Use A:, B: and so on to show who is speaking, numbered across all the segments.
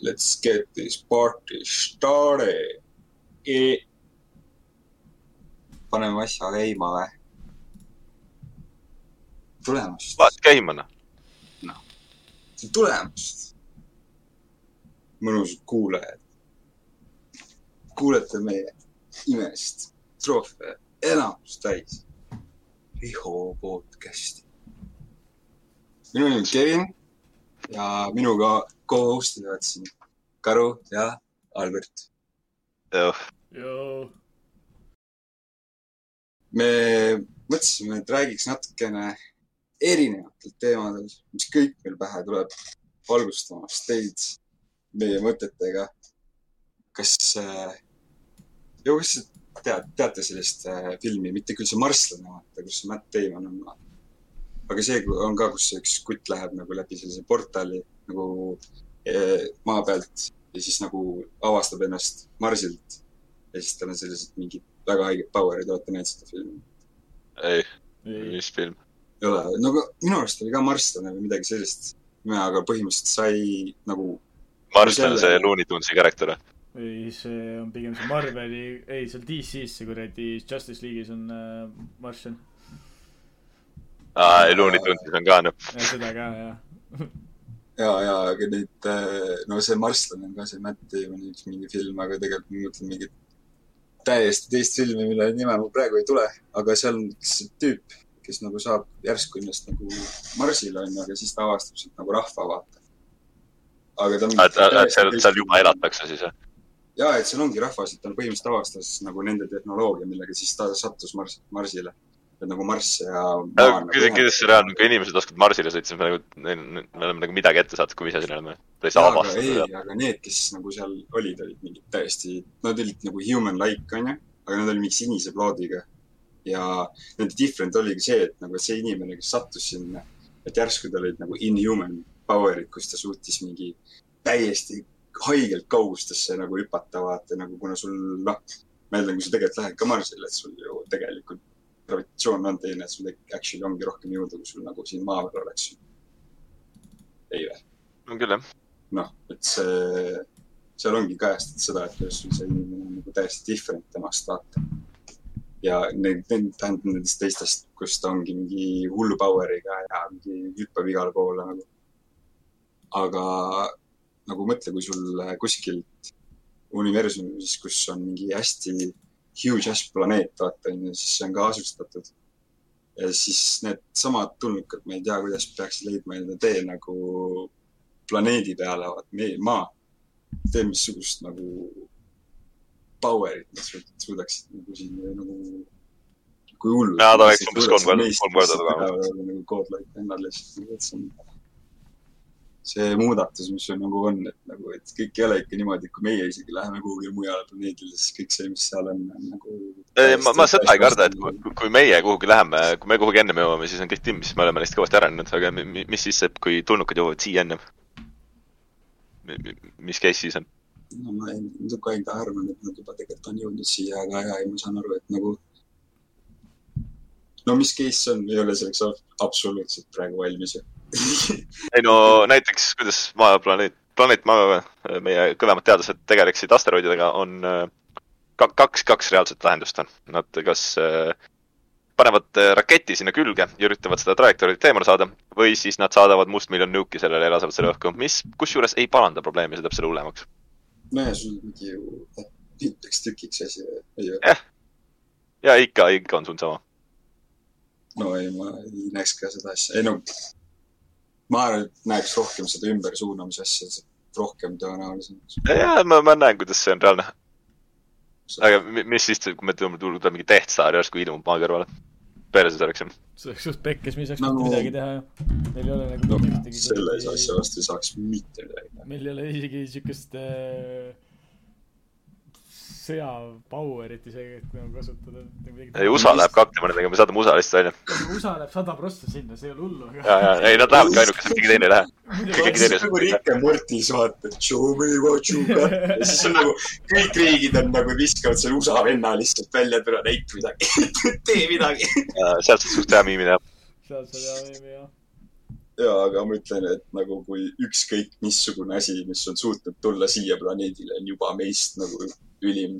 A: Let's get this party started e .
B: paneme asja käima või ? tulemust ,
C: vaat käima noh .
B: tulemust .
A: mõnusad kuulajad .
B: kuulete meie imest troofe enamus täis . Riho podcast'i . minu nimi on Kevin ja minuga co-host ivad siin Karu ja Albert .
D: Joo.
B: me mõtlesime , et räägiks natukene erinevatel teemadel , mis kõik meil pähe tuleb , valgustamas teid meie mõtetega . kas äh, , ja kas te tead, teate sellist äh, filmi , mitte küll see Marslane , vaata , kus see Matt Damon on . aga see on ka , kus üks kutt läheb nagu läbi sellise portali nagu äh, maa pealt ja siis nagu avastab ennast Marsilt . ja siis tal on sellised mingid väga haiged power'id , olete näinud seda filmi ?
C: ei ,
D: Ei.
C: mis film ?
B: ei ole , no aga minu arust oli ka Marslane või midagi sellist . aga põhimõtteliselt sai nagu ,
C: Marston , see
B: Selle-
C: Looney Tunes'i karakter .
D: ei , see on pigem see Marveli , ei , see on DC-s see kuradi Justice League'is on äh, Martian .
C: aa , ei Looney Tunes'is on ka noh .
D: ja seda ka , jah .
B: ja , ja , aga neid , no see Marslane on ka see Matt Damoni üks mingi film , aga tegelikult ma mõtlen mingit täiesti teist filmi , mille nime mul praegu ei tule , aga seal on üks tüüp , kes nagu saab järsku ennast nagu Marsile onju , aga siis ta avastab sealt nagu rahva vaata . aga ta on .
C: Äh, seal , seal juba elatakse siis jah ?
B: ja , et seal ongi rahvas , et ta põhimõtteliselt avastas nagu nende tehnoloogia , millega siis ta sattus Mars , Marsile . et nagu Marss ja Maa on
C: küsin ,
B: nagu
C: kuidas see reaalne , kui inimesed oskavad Marsile sõita , siis me nagu , me oleme nagu midagi ette saanud , kui me ise sinna oleme . ta ei saa
B: jaa , aga
C: avastada
B: ei
C: seda .,
B: aga need , kes nagu seal olid , olid mingid täiesti , nad olid nagu human-like , onju . aga nad olid mingi sinise plaadiga . ja nende different oligi see , et nagu see inimene , kes sattus sinna , et järsku tal olid nagu inhuman power'id , kus ta suutis mingi täiesti haigelt kaugustesse nagu hüpata , vaata nagu kuna sul noh , ma eeldan , kui sa tegelikult lähed ka Marsile , et sul ju tegelikult gravitatsioon on teine , et sul actually ongi rohkem jõudu , kui sul nagu siin maa peal oleks . ei vä ?
C: on küll jah .
B: noh , et see , seal ongi kajastatud seda , et kuidas sul see inimene on nagu täiesti different temast vaata . ja neid , tähendab nendest teistest , kus ta ongi mingi hullu power'iga ja mingi hüppab igale poole nagu . aga nagu mõtle , kui sul kuskilt universumis , kus on mingi hästi huge ass planeet , vaata on ju , siis see on ka asustatud . ja siis needsamad tulnukad , ma ei tea , kuidas peaks leidma enda tee nagu planeedi peale , meie maa . tee missugust nagu power'it nad suud- suudaksid nagu siin nagu , kui hullu .
C: Jaa, ta oleks umbes kolm korda- kolm korda tugevam.
B: nagu koodlaid vennad lihtsalt , nagu et see on see muudatus , mis sul nagu on , et nagu , et kõik ei ole ikka niimoodi , et kui meie isegi läheme kuhugile mujale planeedile , siis kõik see , mis seal on , on nagu .
C: ma , ma seda ei karda , et kui- kui meie kuhugi läheme , kui me kuhugi ennem jõuame , siis on kõik timm , siis me oleme neist kõvasti arenenud , aga mi- mi- mis siis , kui tulnukad jõuavad siia ennem ? mis case siis on ?
B: no ma en- natuke aeg arvan , et nad juba tegelikult on jõudnud siia , aga ja , ja ma saan aru , et nagu . no mis case see on , ei ole selleks ab- absoluutselt praegu valmis ju .
C: ei no näiteks , kuidas Maa planeet , planeet Maa , meie kõvemad teadlased tegeleksid asteroididega , on äh, ka- kaks , kaks reaalset lahendust on . Nad kas äh, panevad äh, raketi sinna külge ja üritavad seda trajektoorit eemale saada või siis nad saadavad mustmiljon nüuki sellele ja lasevad selle õhku , mis kusjuures ei paranda probleemi , see teeb selle hullemaks .
B: nojah , sul on mingi ju eh, tüüpiks tükiks asi , ei ole .
C: ja ikka , ikka on sul sama .
B: no ei , ma ei näeks ka seda asja , ei no . ma arvan , et näeks rohkem seda ümbersuunamise asja , rohkem tõenäoliselt .
C: ja ma , ma näen , kuidas see on reaalne . aga mi- mis siis , kui me tuleme , tuleb mingi tehtsaar järsku ilmub Maa kõrvale ? perses oleks ju .
D: see oleks suht pekkis , me ei saaks
B: Nagu-
D: mitte midagi teha ju . meil ei ole nagu
B: no
D: mitte ühtegi
B: selles
D: kuradi-
B: asja vastu ei saaks mitte midagi .
D: meil ei ole isegi siukest äh, sõja power'it isegi , et nagu kasutada .
C: USA läheb ka aktima nendega , me saadame USA lihtsalt välja .
D: USA läheb sada prossa sinna , see ei ole hullu , aga
C: ja , ja ei , nad lähevadki ainukesed , keegi teine ei lähe .
B: kõik
C: Keegi teine
B: teised . nagu Rick and Morty's vaata , et show me what you got . ja siis on nagu , kõik riigid on nagu viskavad selle USA venna lihtsalt välja , et ära näita midagi , tee midagi .
C: sealt saab suht hea miimine .
D: seal , seal ei ole , ei ole .
B: jaa , aga ma ütlen , et nagu kui ükskõik missugune asi , mis on suutnud tulla siia planeedile , on juba meist nagu ülim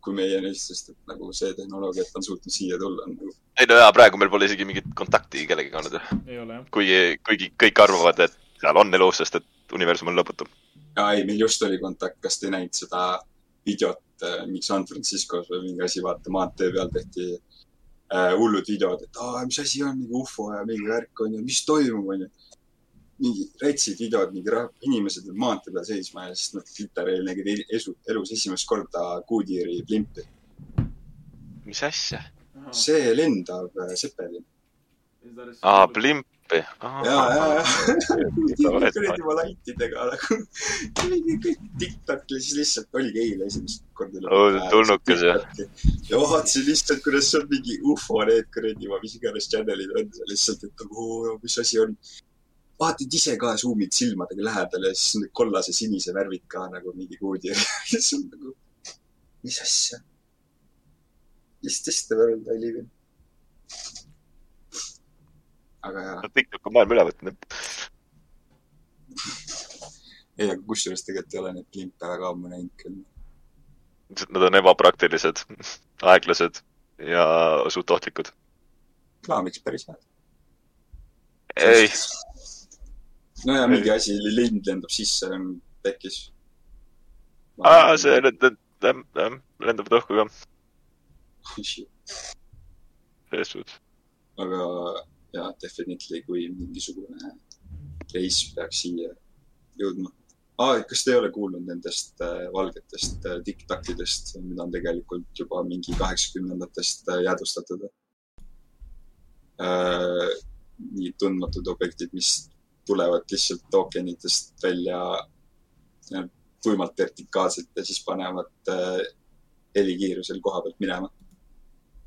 B: kui meie neist , sest et nagu see tehnoloogia , et ta on suutnud siia tulla , on nagu
C: ei no jaa , praegu meil pole isegi mingit kontakti kellegagi olnud ju .
D: ei ole jah .
C: kuigi , kuigi kõik arvavad , et seal on elu , sest et universum on lõputu .
B: jaa , ei , meil just oli kontakt , kas te ei näinud seda videot , miks San Franciscos või mingi asi , vaata maantee peal tehti äh, hullud videod , et aa , mis asi on mingi ufo ja mingi värk on ju , mis toimub , on ju . mingi rätsid videod , mingi rah- inimesed olid maantee peal seisma ja siis nad tütaril nägid el- esu- elus esimest korda kuutiiri plimpi .
C: mis asja ?
B: see lendav äh, sepelin .
C: aa , plimpi .
B: ja , ja , ja . kuradi valaitidega nagu . kõik tiktak ja siis lihtsalt oligi eile esimest korda .
C: Õudselt tulnukas, jah. .
B: ja vaatasin lihtsalt , kuidas seal mingi ufo need kuradi , mis iganes channel'id on seal lihtsalt , et nagu oo, mis asi on . vaatad ise ka suumid silmadega lähedale ja siis need kollase sinise värvid ka nagu mingi koodi . ja siis on nagu , mis asja . Is this the world I live in ? aga jaa .
C: TikTok on maailma üle võtnud .
B: ei , aga kusjuures tegelikult ei ole neid klimpe väga ammu näinud küll .
C: Nad on ebapraktilised , aeglased ja suht ohtlikud .
B: reklaamiks päris hea .
C: ei ,
B: no ja mingi asi , lind lendab sisse , on tekkis .
C: see , need , need , need lendavad õhku ka , selles suhtes .
B: aga jaa , definitely , kui mingisugune reis peaks siia jõudma . aa , kas te ei ole kuulnud nendest äh, valgetest äh, tiktakidest , mida on tegelikult juba mingi kaheksakümnendatest äh, jäädvustatud äh, ? nii tundmatud objektid , mis tulevad lihtsalt ookeanitest välja äh, tuimalt vertikaalselt ja siis panevad äh, helikiirusel koha pealt minema .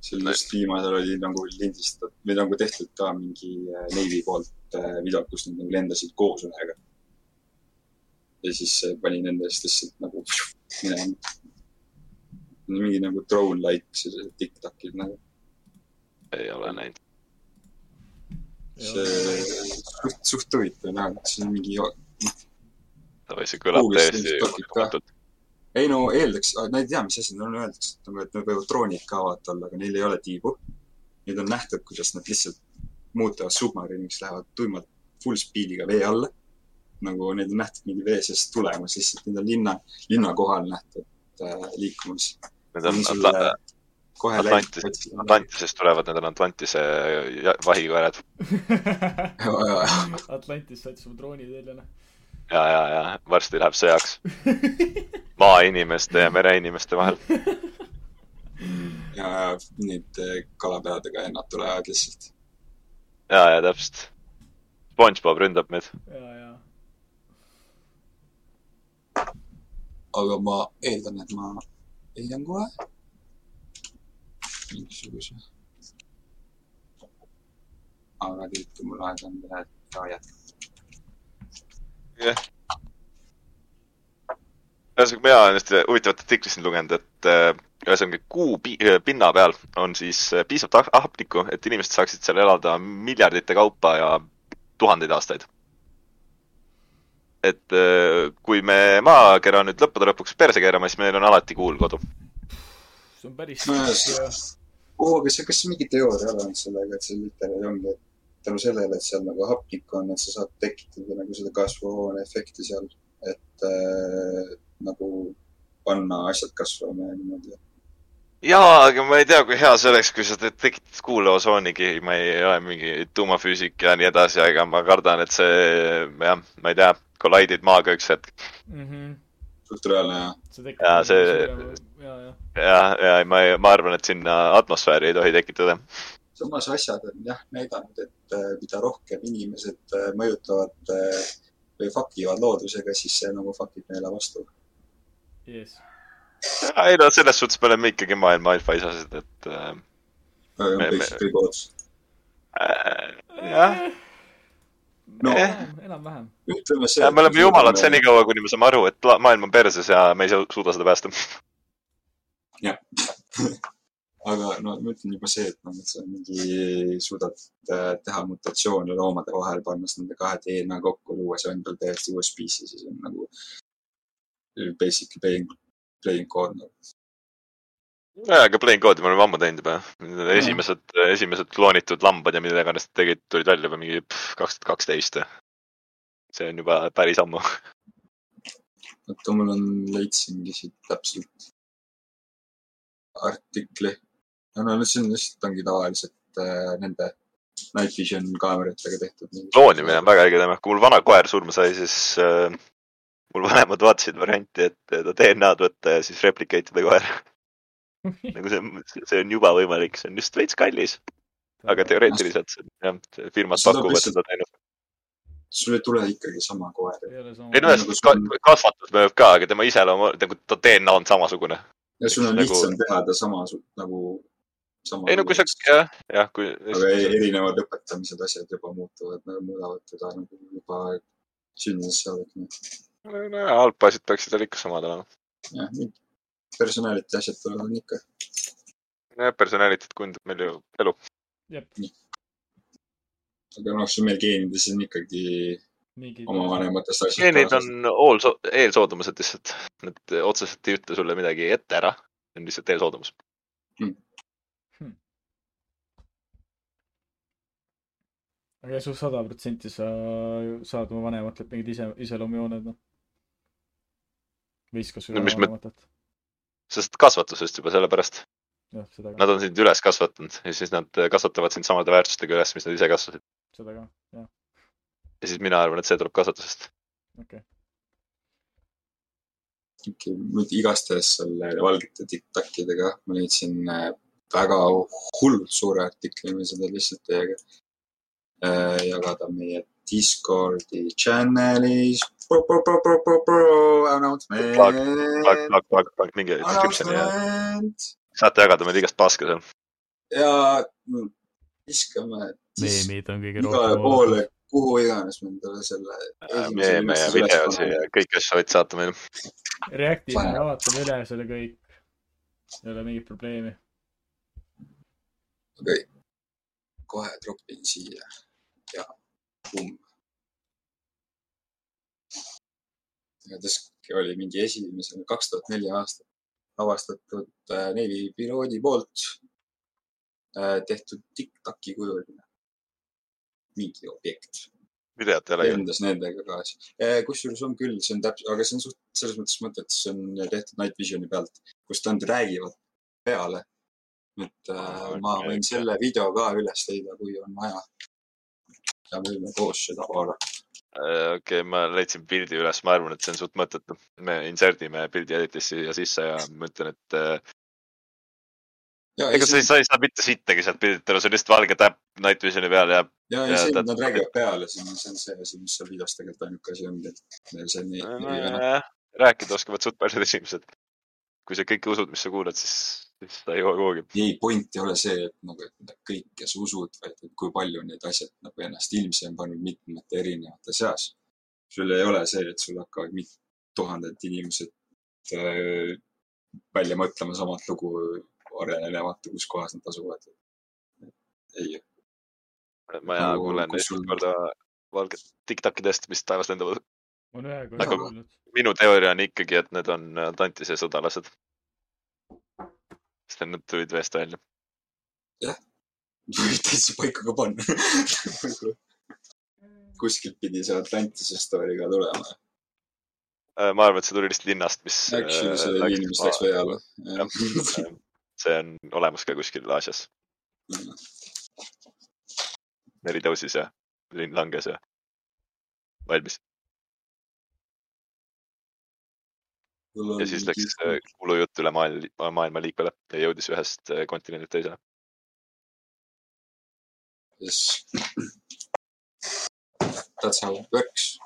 B: seal just viimasel oli nagu lindistatud või nagu tehtud ka mingi äh, Navy poolt äh, video , kus nad nagu lendasid koos ühega . ja siis äh, pani nende eest lihtsalt nagu minema . mingi nagu drone-like sellised tiktakid nagu .
C: ei ole näinud .
B: see suht , suht huvitav näha , et see on mingi ,
C: Davai , see kõlab
B: Kuulis
C: täiesti
B: sellist totit ka.
C: uskumatult .
B: ei no eeldaks , nad ei tea , mis asi need on , öeldakse , et nagu , et nad võivad droonid ka vaata olla , aga neil ei ole tiibu . nüüd on nähtud , kuidas nad lihtsalt muutuvad submariniks , lähevad tuimalt full speed'iga vee alla . nagu neid on nähtud mingi vee seest tulemas , lihtsalt neid on linna , linna kohal nähtud äh, liikumas .
C: Need on Atla- , Atlantis- Atlantisest tulevad , need on Atlantise ja- vahikoerad .
D: Atlantis saatis oma drooni teile , noh .
C: ja , ja , ja varsti läheb sõjaks maainimeste ja mereinimeste vahel .
B: ja neid äh, kalapeadega ennad tulevad lihtsalt .
C: ja , ja täpselt . SpongeBob ründab meid .
D: ja , ja .
B: aga ma eeldan , et ma leian kohe . mingisuguse . aga tegelikult , kui mul aega on , ta jätkab .
C: ühesõnaga , mina olen hästi huvitavat artiklit siin lugenud , et äh, ühesõnaga kuu pi- äh, pinna peal on siis äh, piisavalt ah- hapnikku , et inimesed saaksid seal elada miljardite kaupa ja tuhandeid aastaid . et äh, kui me maakera nüüd lõppude lõpuks perse keerame , siis meil on alati kuul kodu .
D: see on päris
B: No ja
D: ja,
B: oo , aga see , kas see mingi teooria on sellega , et see literaal ongi , et tänu sellele , et seal nagu hapnikku on , et sa saad tekitada nagu seda kasvuhoone efekti seal , et äh, nagu panna asjad kasvama ja niimoodi .
C: jaa , aga ma ei tea , kui hea see oleks , kui sa te- tekitad kuulaosoonigi , ma ei ole mingi tuumafüüsik ja nii edasi , aga ma kardan , et see , jah , ma ei tea , kollaidid maaga üks hetk
D: mm . -hmm.
B: suht reaalne ja
D: see tekib .
C: Jaa, see-
D: ja , ja .
C: ja , ja ma , ma arvan , et sinna atmosfääri ei tohi tekitada .
B: samas asjad on jah näidanud , et äh, mida rohkem inimesed äh, mõjutavad äh, või fakivad loodusega , siis see nagu fakib neile vastu .
D: jess .
C: ei no selles suhtes me oleme ikkagi maailma alfaisased , et äh, Me- me-
B: basically bots .
C: jah ,
B: no
D: enam-vähem .
B: ütleme see .
C: me oleme jumalad . senikaua , kuni me saame aru , et la- maailm on perses ja me ei saa- suuda seda päästa .
B: aga no ma ütlen juba see, et noh , et sa mingi suudad äh, teha mutatsioone loomade vahel , pannes nende kahe DNA kokku , luues endal täiesti uue species , siis on nagu basically playing , playing corner .
C: jaa , aga plain code'i me oleme ammu teinud juba . esimesed , esimesed kloonitud lambad ja mida iganes nad tegid , tulid välja juba mingi kaks tuhat kaksteist . see on juba päris ammu .
B: oota , mul on , leidsingi siit täpselt artikli . no , no see on lihtsalt , ongi tavaliselt äh, nende night vision kaameratega tehtud .
C: kloonimine on väga õige teema . kui mul vana koer surma sai , siis äh, mul vanemad vaatasid varianti , et ta DNA-d võtta ja siis replicate ida koer . nagu see , see on juba võimalik , see on just veits kallis , aga teoreetiliselt see on jah , firmad
B: Seda
C: pakuvad
B: lihtsalt-
C: seda teenust .
B: sul ei tule ikkagi sama koer .
D: ei ole sama .
C: ei no ühesõnaga , kasvatus mõjub ka , aga tema iseloom , nagu ta DNA on samasugune .
B: ja sul on
C: Nagu-
B: lihtsam teha ta sama su- nagu .
C: ei no kui sa , jah , jah , kui .
B: aga ei- erinevad õpetamised , asjad juba muutuvad , muudavad teda nagu juba sündidest saadik .
C: nojah , alpasid peaksid veel ikka samad olema .
B: jah , personaliti asjad tulevad ikka .
C: jah , personalitit kujundab meil ju elu .
B: aga noh , sul meil geenides on ikkagi
D: mingi
B: oma vanematest asjad .
C: geenid on all , eelsoodumused lihtsalt . Nad otseselt ei ütle sulle midagi ette ära . see on lihtsalt eelsoodumus .
D: aga su sada protsenti sa saad oma vanematelt mingid ise , iseloomujooned , noh . viskas üle
C: No mis me-
D: vanematelt .
C: sest kasvatusest juba sellepärast .
D: jah , seda ka ,
C: Nad on sind üles kasvatanud ja siis nad kasvatavad sind samade väärtustega üles , mis nad ise kasvasid .
D: seda ka , jah ,
C: ja siis mina arvan , et see tuleb kasvatusest .
D: okei .
B: ikkagi muid- igastahes selle valgete tiktakidega , ma leidsin äh, väga hullult suure artikli , ma võin seda lihtsalt teiega äh, jagada meie Discordi channel'is .
C: Plug ,
B: announcement ,
C: plug , plug , plug , minge description'i ja
B: announcement
C: saate jagada meil igast paska seal .
B: ja mm, viskame dis-
E: meemid on kõige
B: igale
E: rohkem
B: poole , kuhu iganes me endale selle .
C: meeme ja videosi ja kõiki asju võid saata meile .
D: React'ina
B: Vahe.
D: vaatame üle selle kõik . ei ole mingit probleemi .
B: kohe tropin siia ja pumm . Desk oli mingi esimesena kaks tuhat neli aastat avastatud äh, neli piloodi poolt äh, tehtud tiktaki kujuline mingi objekt .
C: videot ei ole ju .
B: lendas nendega kaasa . kusjuures on küll , see on täpselt , aga see on suht selles mõttes mõttetu , see on tehtud Night Visioni pealt , kus nad räägivad peale . et äh, ma
C: Ah, Okei.
B: võin selle video ka üles leida , kui on vaja . ja võime koos seda vaadata .
C: Äh, okei okay, , ma leidsin pildi üles , ma arvan , et see on suht mõttetu . me inserdime pildi editisse siia sisse ja ma ütlen , et äh, ega sa ei , sa ei saa mitte sittagi sealt pildilt ära , see on lihtsalt valge täpp Night Visioni peal ja
B: ja , ja
C: jaa,
B: see ,
C: täpselt.
B: et nad räägivad peale , see on , see on see asi , mis seal videos tegelikult ainuke asi ongi , et neil see nii , nii vene .
C: äh, rääkida oskavad suht paljud inimesed . kui sa kõike usud , mis sa kuuled , siis , siis sa ei jõua kuhugi .
B: ei , point ei ole see , et nagu , et kõike sa usud , vaid et kui palju need asjad nagu ennast ilmsi on pannud mitmete erinevate seas . sul ei ole see , et sul hakkavad mit- , tuhanded inimesed äh, välja mõtlema samat lugu , arenenemata , kus kohas nad asuvad . ei ,
C: ma ja
B: Nagu,
C: kuulen
B: kus
C: esimest
B: sul-
C: korda valget tiktokidest , mis taevas lendavad .
D: on ühe
B: Aga-
D: korra kuulnud .
C: minu teooria on ikkagi , et need on Dantise sõdalased . sest nad tulid veest välja .
B: võib täitsa paika ka panna . kuskilt pidi see Atlantise story ka tulema .
C: Äh, ma arvan , et see tuli lihtsalt linnast , mis .
B: Actually , see inimene läks vee alla .
C: jah , see on olemas ka kuskil Aasias , neli tõusis ja linn langes ja valmis ja siis läks äh, kuulujutt üle maailma , maailma liikvele ja jõudis ühest äh, kontinendilt teisele .
B: Yes. That's how it works .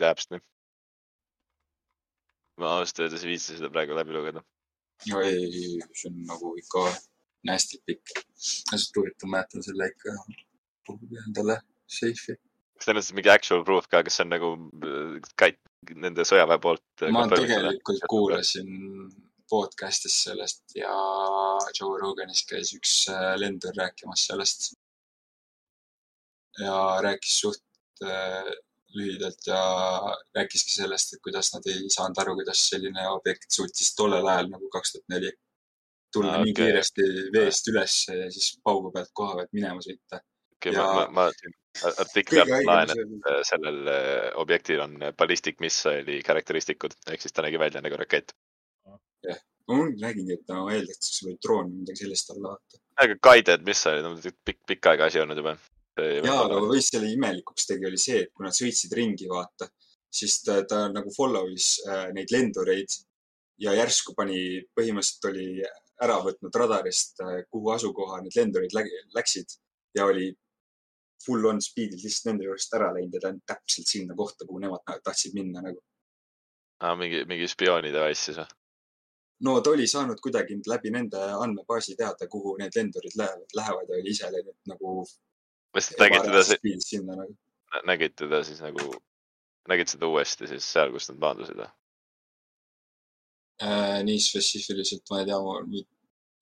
C: täpselt nii . ma ausalt öeldes ei viitsi seda praegu läbi lugeda .
B: no ei , ei , ei , see on nagu ikka hästi pikk . lihtsalt huvitav , ma jätan selle ikka endale seifi .
C: kas teil on siis mingi actual proof ka , kas see on nagu äh, kait- , nende sõjaväe poolt ?
B: ma tegelikult kuulasin podcast'is sellest ja Joe Roganis käis üks äh, lendur rääkimas sellest. ja rääkis suht äh, lühidalt ja rääkiski sellest, et kuidas nad ei saanud aru, kuidas selline objekt suutis tollel ajal nagu kaks tuhat neli tulla
C: Aa,
B: okay. nii
C: okei.
B: kiiresti veest üles ja siis paugu pealt koha pealt minema sõita .
C: okei ,
B: Ja-
C: ma , ma , ma artikli alt laen , et äh, sellel äh, objektil on ballistic missile'i karakteristikud ehk siis ta nägi välja nagu rakett .
B: ma mõtlen- nägingi , et ma eeldan , et see võib droon või midagi sellist olla .
C: aga Nagu guided missile'id on pikk , pikka aega asi olnud juba .
B: ja , aga mis selle imelikuks tegi , oli see , et kui nad sõitsid ringi , vaata , siis ta, ta nagu follow'is äh, neid lendureid ja järsku pani , põhimõtteliselt oli ära võtnud radarist äh, , kuhu asukoha need lendurid lägi, läksid ja oli full on speed'il lihtsalt nende juurest ära läinud ja ta on täpselt sinna kohta , kuhu nemad na- tahtsid minna nagu .
C: ah, . mingi , mingi spiooni device siis või ?
B: no ta oli saanud kuidagi läbi nende andmebaasi teada , kuhu need lendurid lähevad , lähevad ja oli ise läinud nagu .
C: või sa nägid teda ,
B: sinna nagu .
C: nägid teda siis nagu , nägid seda uuesti siis seal , kus nad maandusid või ?
B: Äh, nii spetsiifiliselt ma ei tea , nüüd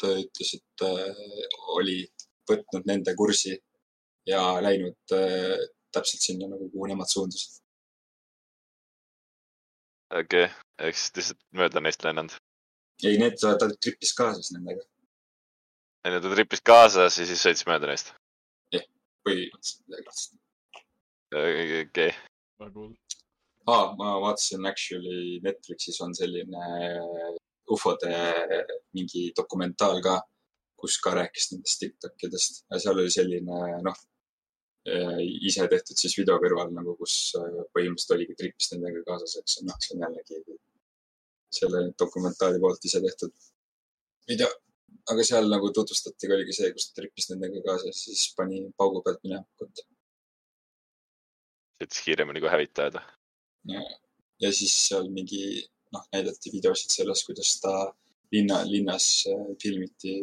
B: ta ütles , et äh, oli võtnud nende kursi ja läinud äh, täpselt sinna nagu , kuhu nemad suundusid .
C: okei okay. , ehk siis lihtsalt mööda neist lennanud .
B: ei , need , ta ta tripis kaasas nendega
C: ei no ta tripis kaasas ja siis sõits mööda neist .
B: põhimõtteliselt midagi laadset .
C: okei okay. ,
D: väga hull .
B: aa , Ah, ma vaatasin actually Netflixis on selline äh, ufode äh, mingi dokumentaal ka , kus ka rääkis nendest Tiktokidest ja seal oli selline noh , ise tehtud siis video kõrval nagu , kus äh, põhimõtteliselt oligi trips nendega kaasas , eks ju, noh , see on jällegi selle dokumentaali poolt ise tehtud video . aga seal nagu tutvustati ka oligi see , kus ta tripis nendega kaasas , siis pani paugu pealt minekut .
C: sõits kiiremini kui hävitajad või ?
B: ja siis seal mingi noh , näidati videosid sellest , kuidas ta linna , linnas äh, filmiti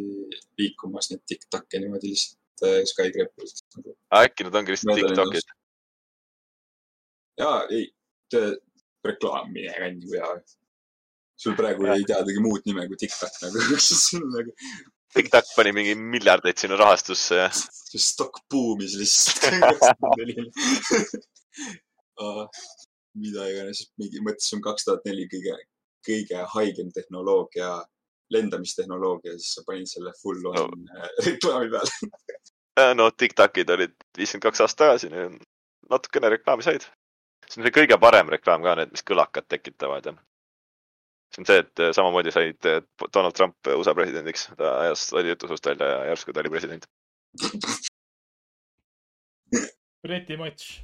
B: liikumas neid tiktak'e niimoodi lihtsalt äh, Skycrapilt nagu .
C: äkki nad ongi lihtsalt
B: Mööda lennust.
C: Tiktokid ,
B: jaa , ei , reklaam , mine kanni , kui hea . sul praegu
C: Jah.
B: ei teadagi muud nime kui tiktak nagu , sul nagu ,
C: Tiktok pani mingi miljardeid sinna rahastusse ja
B: see stokk buumis lihtsalt . Ah, mida iganes , mingi mõttes on kaks tuhat neli kõige , kõige haigem tehnoloogia , lendamistehnoloogia , siis sa panid selle full on
C: No.
B: äh, reklaami peale .
C: Ja no Tiktokid olid viiskümmend kaks aastat tagasi , nii on- natukene reklaami said . see on see kõige parem reklaam ka , need , mis kõlakad tekitavad ja . see on see , et eh, samamoodi said eh, Donald Trump eh, USA presidendiks , ta ajas lolli jutu suust välja ja järsku ta oli president .
D: Pretty much .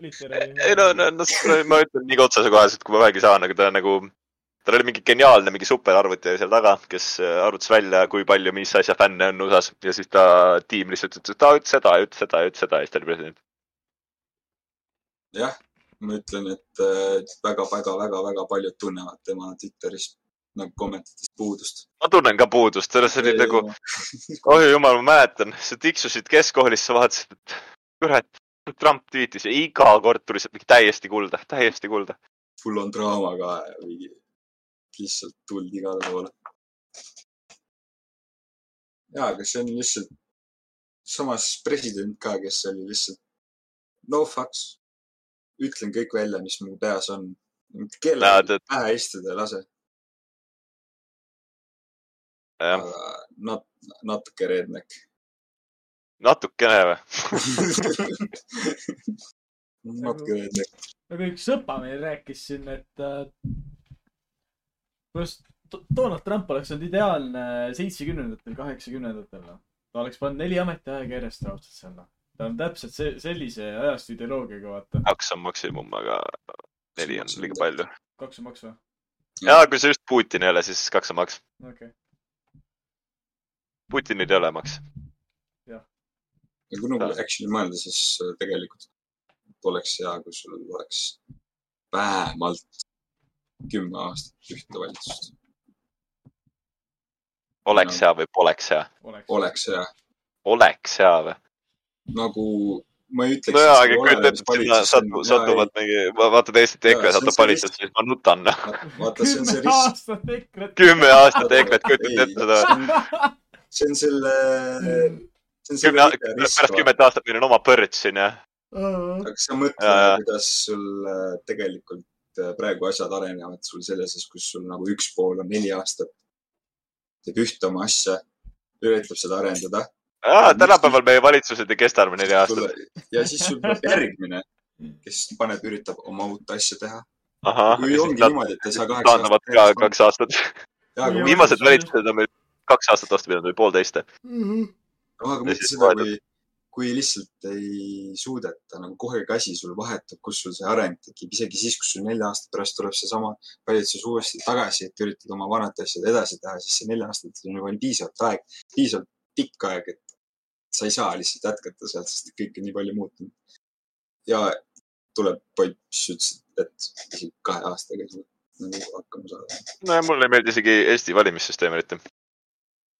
D: literally .
C: ei no , no, no , ma ütlen nii otsesekoheselt , kui ma vähegi saan , aga ta nagu , tal oli mingi geniaalne mingi superarvuti oli seal taga , kes eh, arvutas välja , kui palju , mis asja fänne on USA-s ja siis ta tiim lihtsalt ütles , et ta ütles seda , ütles seda , ütles seda ja siis ta oli president .
B: jah , ma ütlen , et äh, väga-väga-väga-väga paljud tunnevad tema Twitteris nagu kommentidest puudust .
C: ma tunnen ka puudust , selles oli nagu , oi jumal , ma mäletan , sa tiksusid keskkoolis , sa vaatasid , et kurat , Trump tweetis ja iga kord tuli sealt mingi täiesti kulda , täiesti kulda .
B: full on draama ka või lihtsalt tuld igale poole . ja , aga see on lihtsalt samas president ka , kes oli lihtsalt no fucks , ütlen kõik välja , mis mul peas on .
C: Näed,
B: kellelgi
C: et-
B: pähe istuda ei lase ,
C: jah ,
B: aga nat- , natuke redneck
C: natukene või ?
B: natuke redneck ,
D: aga üks sõpa meil rääkis siin , et äh, kuidas Do- Donald Trump oleks olnud ideaalne seitsmekümnendatel , kaheksakümnendatel , noh . ta oleks pannud neli ametiaega järjest raudselt sinna . ta on täpselt see , sellise ajastu ideoloogiaga , vaata .
C: kaks on maksimum , aga neli on liiga palju .
D: kaks on maks või ?
C: ja kui see just Putin ei ole , siis kaks on maks .
D: okei okay. .
C: Putinil ei ole maks .
B: ja kui nagu actually mõelda , siis äh, tegelikult oleks hea , kui sul oleks vähemalt kümme aastat ühte valitsust .
C: oleks hea või poleks hea ?
D: oleks .
B: oleks hea ,
C: oleks hea või ?
B: nagu ma ei ütleks .
C: nojaa , aga kui täpselt sinna satu- , satuvad mingi , vaata täiesti
B: Jaa, see
C: EKRE
B: on
C: satub
B: see
C: valitsusse , siis ma nutan .
B: vaata , see on see
D: kümme
B: risk ,
D: aastat EKRE-t .
C: kümme aastat
B: Ei,
C: EKRE-t kujutad ette seda .
B: see on selle , see on
C: kümne ,
B: selle
C: pärast . kümmet aastat meil on oma põrts siin ja .
D: aastat .
B: aga sa mõtle
C: Jaa, jaa. ,
B: kuidas sul äh, tegelikult äh, praegu asjad arenevad sul selles , kus sul nagu üks pool on neli aastat , teeb ühte oma asja , üritab seda arendada .
C: tänapäeval meie valitsused ei kesta enam neli aastat .
B: ja siis sul tuleb järgmine , kes paneb , üritab oma uut asja teha .
C: ahah ,
B: kui
C: Ah, ja
B: ongi
C: siis nad
B: niimoodi , et ei saa kaheksa
C: taandavad ka
B: järjest-
C: kaks aastat .
B: jaa, aga
D: Jaa.
B: mõtle-
C: viimased valitsused on meil kaks aastat vastu pidanud või poolteist .
D: mhm.
B: noh, aga
C: Ja
B: mõtle
C: siis
B: seda ,
C: vaatad.
B: kui , kui lihtsalt ei suudeta nagu kohe käsi sul vahetub , kus sul see areng tekib , isegi siis , kui sul nelja aasta pärast tuleb seesama valitsus uuesti tagasi , et üritad oma vanad asjad edasi teha , siis see neli aastat on juba piisavalt aeg , piisavalt pikk aeg , et sa ei saa lihtsalt jätkata sealt , sest kõik on nii palju muutunud . ja tuleb poiss , ütles , et isegi kahe aastaga ei suuda nagu hakkama saada .
C: nojah , mulle ei meeldi isegi Eesti valimissüsteem eriti .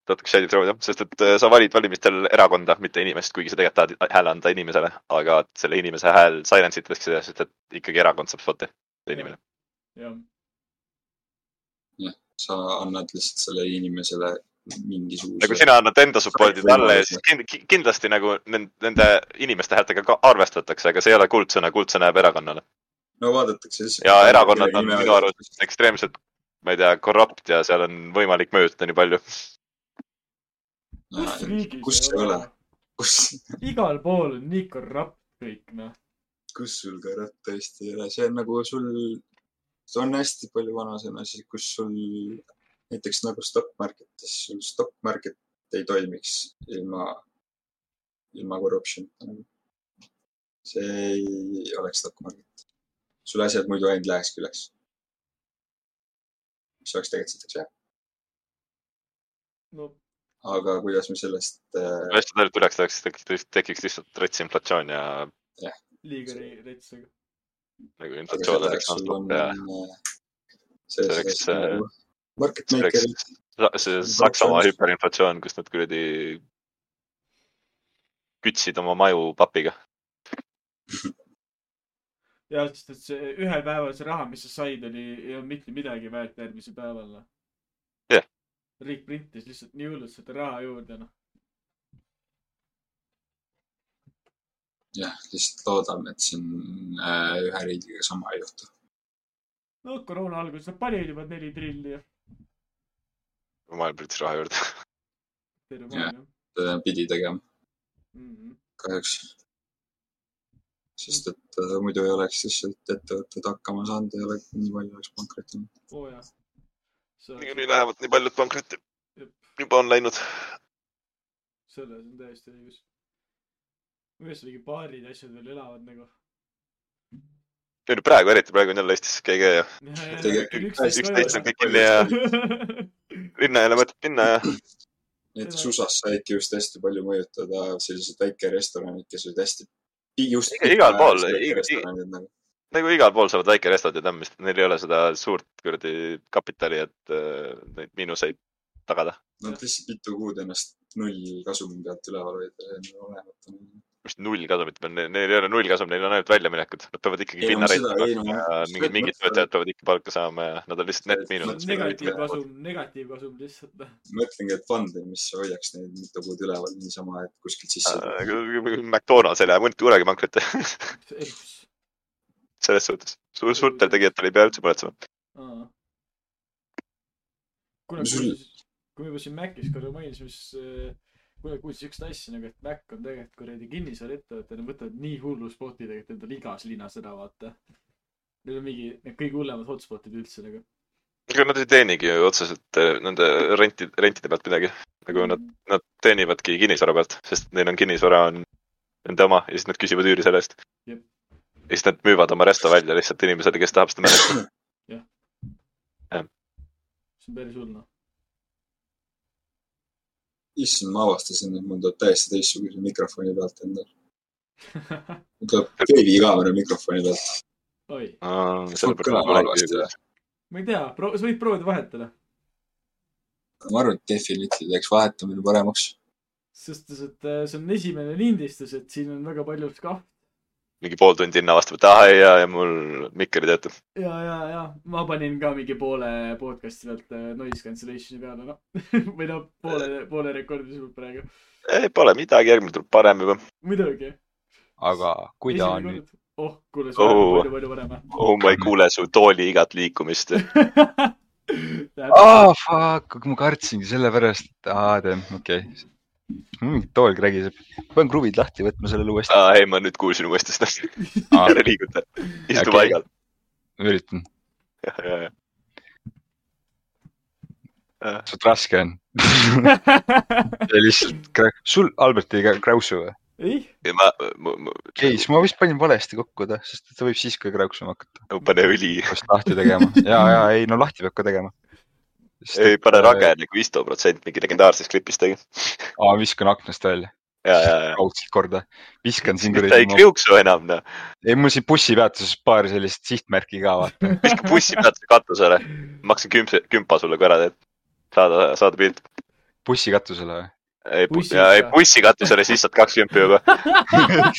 C: natuke shaded road jah , sest et äh, sa valid valimistel erakonda , mitte inimest , kuigi sa tegelikult tahad hääle anda inimesele , aga selle inimese hääl silence itakse , sest et ikkagi erakond saab spot'i , see inimene .
D: jah ,
B: sa annad lihtsalt sellele inimesele mingisuguse .
C: nagu sina annad enda support'i talle ja siis kind, ki- kindlasti nagu nend- nende inimeste häältega ka arvestatakse , aga see ei ole kuldsõna , kuldsõna jääb erakonnale .
B: no vaadatakse siis .
C: ja erakonnad on minu arust ekstreemselt , ma ei tea , korrupt ja seal on võimalik mõjutada nii palju .
D: kus riigis
B: Äh, kus ei ole ?? kus ,
D: igal pool on nii korrupt kõik , noh .
B: kus sul karat tõesti ei ole , see on nagu sul , see on hästi palju vanasõnasid , kus sul näiteks nagu stock market'is , sul stock market ei toimiks ilma , ilma corruption'ita . see ei oleks stock market . sul asjad muidu ainult lähekski üles . mis oleks tegelikult siit , eks jah .
D: no
B: aga kuidas me sellest äh,
C: kui hästi tarvilt üleks läheks , tekiks tekiks lihtsalt rets inflatsioon ja
D: liiga ri- rets , aga
C: nagu
B: aga
C: inflatsioon
B: selleks
C: oleks
B: sul on
C: natuke ,
B: äh, see nagu
C: See oleks, ,
B: market
C: see oleks-
B: maker'id ,
C: see Saksamaa hüperinflatsioon , kus nad kuradi kütsid oma maju papiga .
D: ja sest , et see ühel päeval see raha , mis sa said , oli , ei olnud mitte midagi väärt järgmisel päeval , noh .
C: Jah.
D: riik printis lihtsalt nii hullult seda raha juurde , noh .
B: jah , lihtsalt loodame , et siin äh, ühe riigiga sama ei juhtu .
D: no koroona alguses nad panid juba neli trilli ja
C: maailm püüdis raha juurde .
D: terve Mhm.
B: Jah.
D: maailm ,
B: äh, pidi tegema
D: jah .
B: kahjuks . sest et äh, muidu ei oleks lihtsalt ettevõtted hakkama saanud , ei oleks nii palju oleks pankrotinud .
D: oo jah .
C: niikuinii lähevad nii paljud pankrotti
D: Jep. .
C: juba on läinud .
D: selles on täiesti õigus . kuidas mingi baarid ja asjad veel elavad nagu .
C: ei no praegu eriti , praegu on jälle Eestis GG ja üksteist Äh, on kõik kinni ja linna ei ole mõtet minna ja
B: näiteks
D: Seda-
B: USA-s saidki just hästi palju mõjutada sellised väikerestoranid , kes olid hästi just
C: Iga- igal pool,
B: pikaajalised
C: iga-
B: väikerestoranid nagu .
C: nagu igal pool saavad väikerestad ja tammist , neil ei ole seda suurt kuradi kapitali , et äh, neid miinuseid tagada .
B: Nad lihtsalt mitu kuud ennast nullkasumi pealt üleval hoida , see on olematu .
C: mis null kasumit , neil ei ole null kasum , neil on ainult väljaminekud , nad peavad ikkagi
B: Ei, no
C: pinna
B: seda- ei,
C: rentima
B: no
C: ja
B: seda
C: mingid , mingid
B: mõtlen.
C: töötajad peavad ikka palka saama ja nad on lihtsalt
B: See-
C: net miinus .
D: negatiivkasum , negatiivkasum lihtsalt . noh.
B: mõtlengi , et fondi , mis hoiaks neid mitu kuud üleval niisama , et kuskilt sisse
C: Äh,
B: tuleb .
C: McDonalds ei lähe mõnda kunagi pankrotti selles suhtes . suur , suurtel tegijatel ei pea üldse muretsema .
D: kuule ,
B: Mis sul-
D: kui me juba siin Macis korra mainisime , siis äh, kuule , kuulsin siukest asja nagu , et Mac on tegelikult kuradi kinnisvaraettevõte , nad võtavad nii hullu spoti tegelikult endale igas linnas ära , vaata . Neil on mingi , need kõige hullemad hotspotid üldse nagu .
C: ega nad ei teenigi ju otseselt äh, nende renti , rentide pealt midagi .
B: Mm.
C: nagu nad , nad teenivadki kinnisvara pealt , sest neil on kinnisvara on nende oma ja siis nad küsivad üüri selle eest .
D: Jep.
C: ja siis nad müüvad oma resto välja lihtsalt inimesele , kes tahab seda mänedžerida .
D: see on päris hull noh .
B: issand , ma avastasin , et mul tuleb täiesti teistsuguse mikrofoni pealt endal .
D: noh.
B: mul tuleb veebikaamera mikrofoni pealt .
D: oi ,
B: kõlab halvasti, jah.
C: ma
D: ma ei tea , proo- , sa võid proovida vahetada .
B: ma arvan , et Definitiv teeks vahetamine paremaks .
D: selles suhtes , et äh, see on esimene lindistus , et siin on väga palju skahv
C: mingi pool tundi enne vastab , et ah ei , ja , ja mul mikker ei tööta .
D: ja , ja , ja ma panin ka mingi poole podcast'i pealt äh, noise cancellation'i peale , noh . või noh , poole , poole rekordi sul praegu .
C: ei , pole midagi , järgmine tuleb parem juba .
D: muidugi .
B: aga kui ta on nüüd ,.
D: oh , kuule , see on
C: Oh.
D: palju , palju parem .
C: oh , ma ei kuule su tooli igat liikumist .
B: aa , Ah, fuck , ma kartsingi sellepärast , aa , tean , okei okay. . mul mingi tool krägiseb , pean kruvid lahti võtma sellele uuesti .
C: aa ei , ma nüüd kuulsin uuesti seda .
B: Ah.
C: ära liiguta , istu
B: Okei.
C: paigal .
B: üritan , suht raske on . lihtsalt , sul , Albert , ei käi kräusu või ?
D: ei ,
C: ja ma , ma , ma,
B: okei , siis ma vist panin valesti kokku ta , sest ta võib siis ka kräuksuma hakata ,
C: ma panen õli ,
B: pärast lahti tegema ja , ja ei no lahti peab ka tegema .
C: ei pane rage nagu Isto protsent mingi legendaarses klipis tegi .
B: aa , viskan aknast välja ,
C: ja , ja , ja .
B: raudselt korda , viskan siin
C: ta ei
B: kuradi ,
C: kriuksu enam , noh .
B: ei mul siin bussipeatuses paar sellist sihtmärki ka vaata .
C: viska bussi pealt katusele . maksan kümse , kümpa sulle , kui ära teed . saada , saada pilt .
B: bussikatusele või ?
C: ei ,
D: Bussi
C: ei
D: otsa.
C: bussi katusele , siis saad kaks kümpi juba .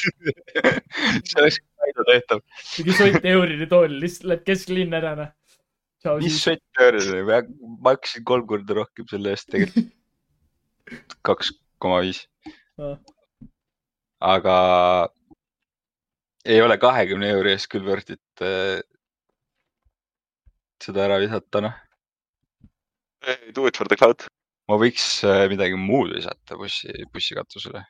B: see oleks väljatehtav .
D: mingi sott eurine tool , lihtsalt läheb kesklinna ära , noh . tšau ,
B: mis
D: siis .
B: sott pöörde , ma maksin kolm korda rohkem selle eest tegelikult . kaks koma viis
D: Ah. .
B: aga ei ole kahekümne euro eest küll worth it äh, seda ära visata , noh .
C: Do it for the cloud .
B: ma võiks äh, midagi muud visata bussi , bussikatusele .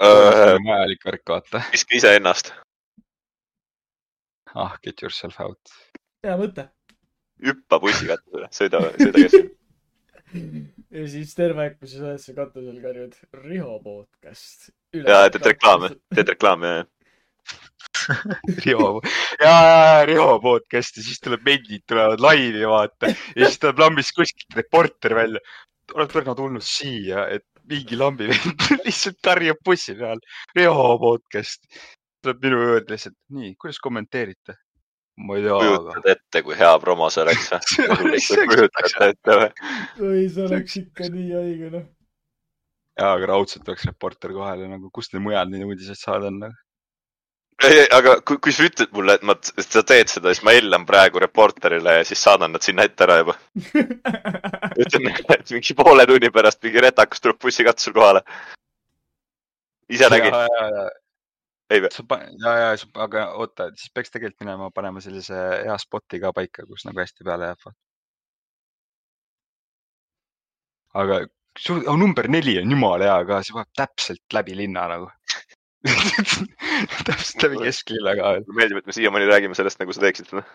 C: Äh,
B: vajalik värk , vaata .
C: viska iseennast .
B: ah , get yourself out .
D: hea mõte .
C: hüppa bussi katusele , sõida , sõida kes .
D: ja siis terve aeg , kui sa oled seal katusel , karjud Riho podcast .
C: ja teed reklaame , teed reklaame , ja ,
B: Riho , ja , ja , ja Riho podcast'i , siis tuleb vendid tulevad laivi , vaata . ja siis tuleb lambist kuskilt reporter välja . oled Pärnu tulnud siia , et mingi lambi vend lihtsalt karjub bussi peal . Riho podcast . tuleb minu juurde lihtsalt , nii , kuidas kommenteerite ? ma ei
C: ja .
B: tea ,
C: kujutad ette , kui hea promo see oleks või ? kujutate ette või ?
D: oi , see oleks ikka nii haige , noh .
B: aga , aga raudselt oleks reporter kohal ja nagu , kust neil mujal neid uudiseid saada on nagu. .
C: ei , ei , aga kui , kui sa ütled mulle , et ma , sa teed seda , siis ma hellan praegu reporterile ja siis saadan nad sinna ette ära juba . ütlen , et mingi poole tunni pärast mingi retakas tuleb bussikatusel kohale . ise nägin , Ei või? ?
B: ja , ja , aga oota , siis peaks tegelikult minema panema sellise hea spot'i ka paika , kus nagu hästi peale jääb . aga su- oh, number neli on jumala hea ka , see vajab täpselt läbi linna nagu . täpselt läbi kesklinna ka .
C: mulle meeldib , et me siiamaani räägime sellest , nagu sa teeksid seda .
D: noh.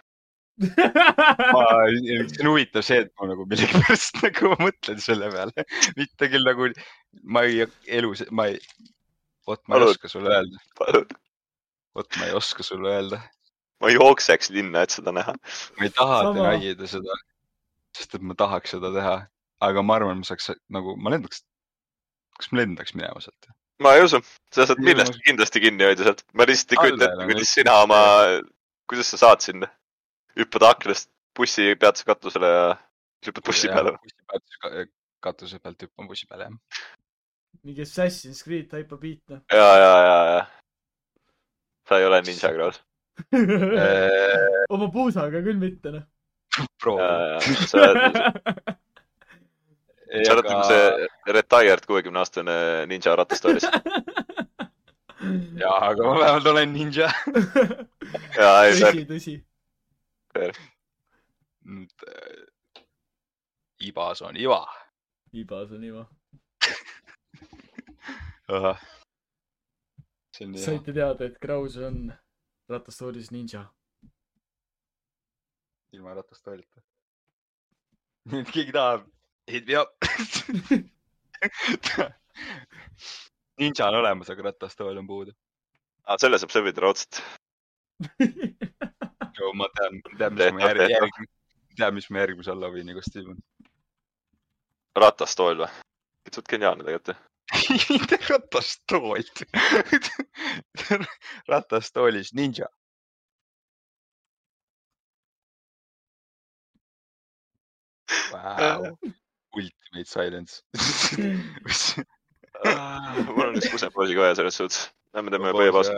B: ma , see on huvitav see , et ma nagu millegipärast nagu mõtlen selle peale , mitte küll nagu ma ei elus , ma ei , vot ma ei
C: Palun.
B: oska sulle öelda , vot ma ei oska sulle öelda .
C: ma jookseks linna , et seda näha .
B: ma ei taha
D: Sama.
B: denial'ida seda , sest et ma tahaks seda teha , aga ma arvan , ma saaks nagu , ma lendaks , kas ma lendaks minema sealt ?
C: ma ei usu , sa saad millestki kindlasti kinni hoida sealt . ma lihtsalt ei kujuta
B: Allel
C: ette ,
B: on
C: kuidas
B: lihtsalt-
C: sina oma , kuidas sa saad sinna . hüppad aknast bussi peatuse katusele ja siis hüppad bussi peale .
B: katuse pealt hüppan bussi peale jah .
D: mingi Assassin's Creed taipa beat , noh .
C: ja , ja , ja , ja . sa ei ole ninja kraus . Äh.
B: Äh,
D: oma puusaga küll mitte , noh .
C: ja ,
B: proovi .
C: ja , ja . sa oled , sa oled nagu see retired kuuekümne aastane ninja ratastoolis .
B: jaa , aga ma vähemalt olen ninja .
C: ja , ei , see on
D: tõsi , tõsi .
B: äh, ibas on iva .
D: ibas on iva .
B: see on nii hea .
D: saite teada , et Kraus on ratastoolis ninja .
B: ilma ratastoolita . nii , et keegi tahab , hit me up . ninja on olemas , aga ratastool on puudu .
C: ah, . selle saab servida raudselt .
B: ma tean , tean , mis mu järg- , järg- , tean , mis mu järgmise Halloweeni kostüüm on .
C: ratastool või ? suht geniaalne tegelikult ju .
B: mitte ratastool . ratastoolis ninja . Wow. Ultimate silence .
C: mul on üks kusepausi ka ja selles suhtes .
B: Oh,
C: Lähme teeme põhjapausi .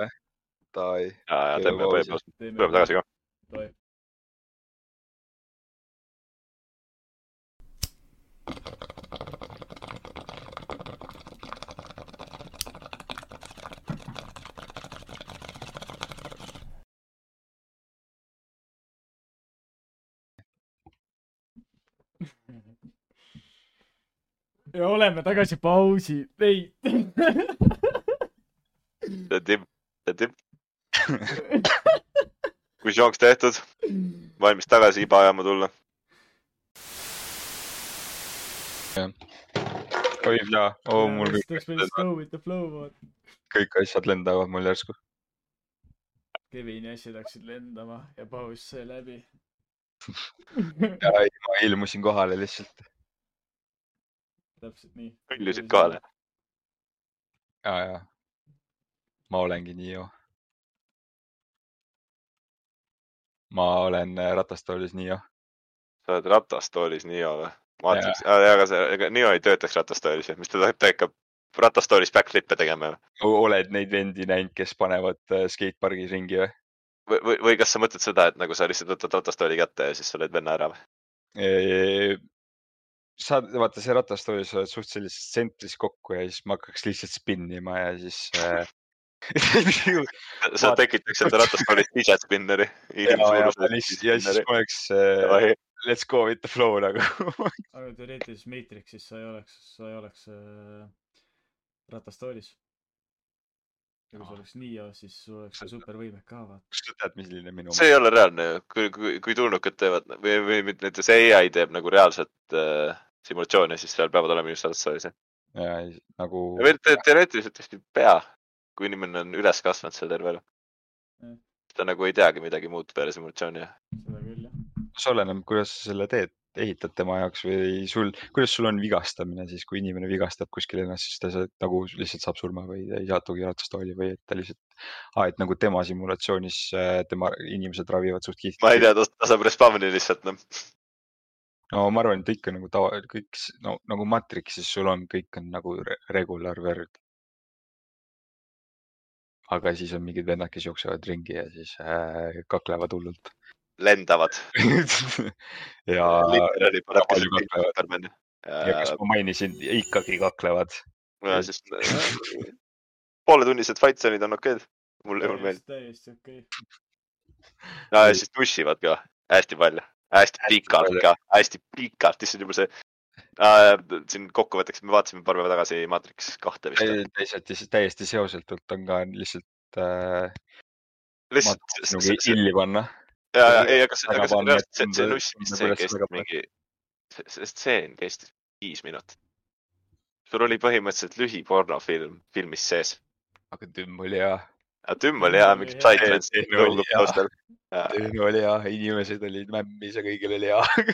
B: Davai .
C: ja , ja teeme
B: Põhjapausi.
C: põhjapausi , tuleme tagasi ka .
D: ka . ja oleme tagasi pausi , ei .
C: The dip , the dip . kui jooks tehtud , valmis tagasi iba ajama tulla .
B: oi jaa , oo mul kõik ,
D: Let's just go with the flow , vaata .
B: kõik asjad lendavad mul järsku .
D: Kevini asjad hakkasid lendama ja paus sai läbi
B: ja ei , ma ilmusin kohale lihtsalt .
D: täpselt nii .
C: kõndisid kohale .
B: ja , ja . ma olengi nii joo . ma olen äh, ratastoolis nii joo .
C: sa oled ratastoolis Nio või ? ma
B: Jaa.
C: vaatasin , aga see , ega Nio ei töötaks ratastoolis , mis ta tahab , ta ikka ratastoolis backflip'e tegema ju.
B: oled neid vendi näinud , kes panevad äh, skatepargis ringi või ?
C: või , või , või kas sa mõtled seda , et nagu sa lihtsalt võtad ratastooli kätte ja siis sa lööd venna ära või ?
B: sa , vaata see ratastoolis oled suhteliselt tsentris kokku ja siis ma hakkaks lihtsalt spinnima ja siis äh, .
C: sa
B: Vaat-
C: tekitaks enda ratastoolis ise spinneri .
B: ja , ja siis , ja siis ma oleks äh, let's go with the flow nagu .
D: aga teoreetilises Matrixis sa ei oleks , sa ei oleks äh, ratastoolis . ja kui
B: Ahah.
D: sa oleks Nio , siis sul oleks ka supervõimed ka , vaata .
B: kas sa tead , milline minu
C: see ? ei ole reaalne ju , kui , kui , kui tulnukad teevad või , või mit- näiteks ai teeb nagu reaalset äh, simulatsiooni , siis seal peavad olema just ratastoolis .
B: ja ei- nagu
C: või te, teoreetiliselt vist ei pea , kui inimene on üles kasvanud seal terve elu
D: Mm. .
C: ta nagu ei teagi midagi muud peale simulatsiooni .
D: seda küll , jah .
B: see oleneb , kuidas sa selle teed , ehitad tema jaoks või sul , kuidas sul on vigastamine siis , kui inimene vigastab kuskil ennast , siis ta sa- nagu lihtsalt saab surma või ta ei satugi ratsastooli või et ta lihtsalt . aa , et nagu tema simulatsioonis äh, tema inimesed ravivad suht kihvti .
C: ma ei . tea , ta saab respawn'i lihtsalt noh .
B: no ma arvan , et ikka nagu tava , kõik s- no, nagu Matrixis sul on , kõik on nagu re- regular world . aga siis on mingid vennad , kes jooksevad ringi ja siis äh, kaklevad hullult
C: lendavad .
B: ja ,
C: literaali paneb
B: palju
C: keset kõik
B: kaklevad.
C: Supermani .
B: ja kas ma mainisin , ikkagi kaklevad .
C: ja siis äh, pooletunnised fight scene'id on okeid . mulle , mulle meeldib .
D: täiesti okei okay. .
C: ja siis dušivad ka hästi palju , hästi pikalt
B: palju.
C: ka , hästi pikalt , issand jumal see . siin kokkuvõtteks me vaatasime paar päeva tagasi Matrix kahte vist .
B: täiesti , täiesti seosetult on ka lihtsalt äh, nagu
C: lihtsalt .
B: illi panna .
C: ja , ja ei , aga see ,
B: Väga
C: aga see
B: palju
C: reaalselt see ,
B: tunde-
C: see nussimist , see
B: tunde pärast
C: kestis
B: väga palju.
C: mingi , see see stseen kestis viis minutit . sul oli põhimõtteliselt lühipornofilm filmis sees .
B: aga tümm oli hea ,
C: aga tümm oli hea , mingid side
B: Jaa,
C: events
B: see oli
C: tõusnud
B: hea.
C: taustal .
B: töö oli hea , inimesed olid mämmis ja kõigil oli hea .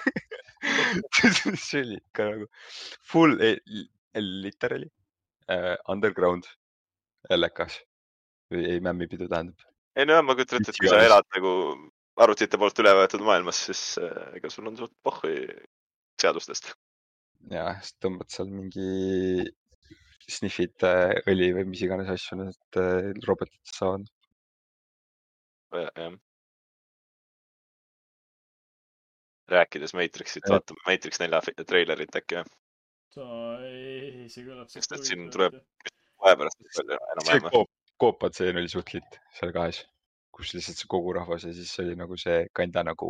B: see oli ikka nagu full eh, literally äh, underground LK-s või ei mämmipidu tähendab .
C: ei no jah , ma kujutan ette , et kui sa
B: Iganes.
C: elad nagu arvutite poolt üle võetud maailmas , siis äh, ega sul on suht pohhui seadustest .
B: ja siis tõmbad seal mingi snifid äh, õli või mis iganes asju need äh, robotid saavad .
C: rääkides Matrixit ,
B: Jah.
C: vaatame Matrix nelja fi- treilerit äkki või ?
D: ei , see kõlab .
C: Sest et siin tuleb- vahepärast nii palju
B: see
C: enam-vähem .
B: koop , koopatseen oli suht liit seal kahes , kus lihtsalt see kogu rahvas ja siis oli nagu see kanda nagu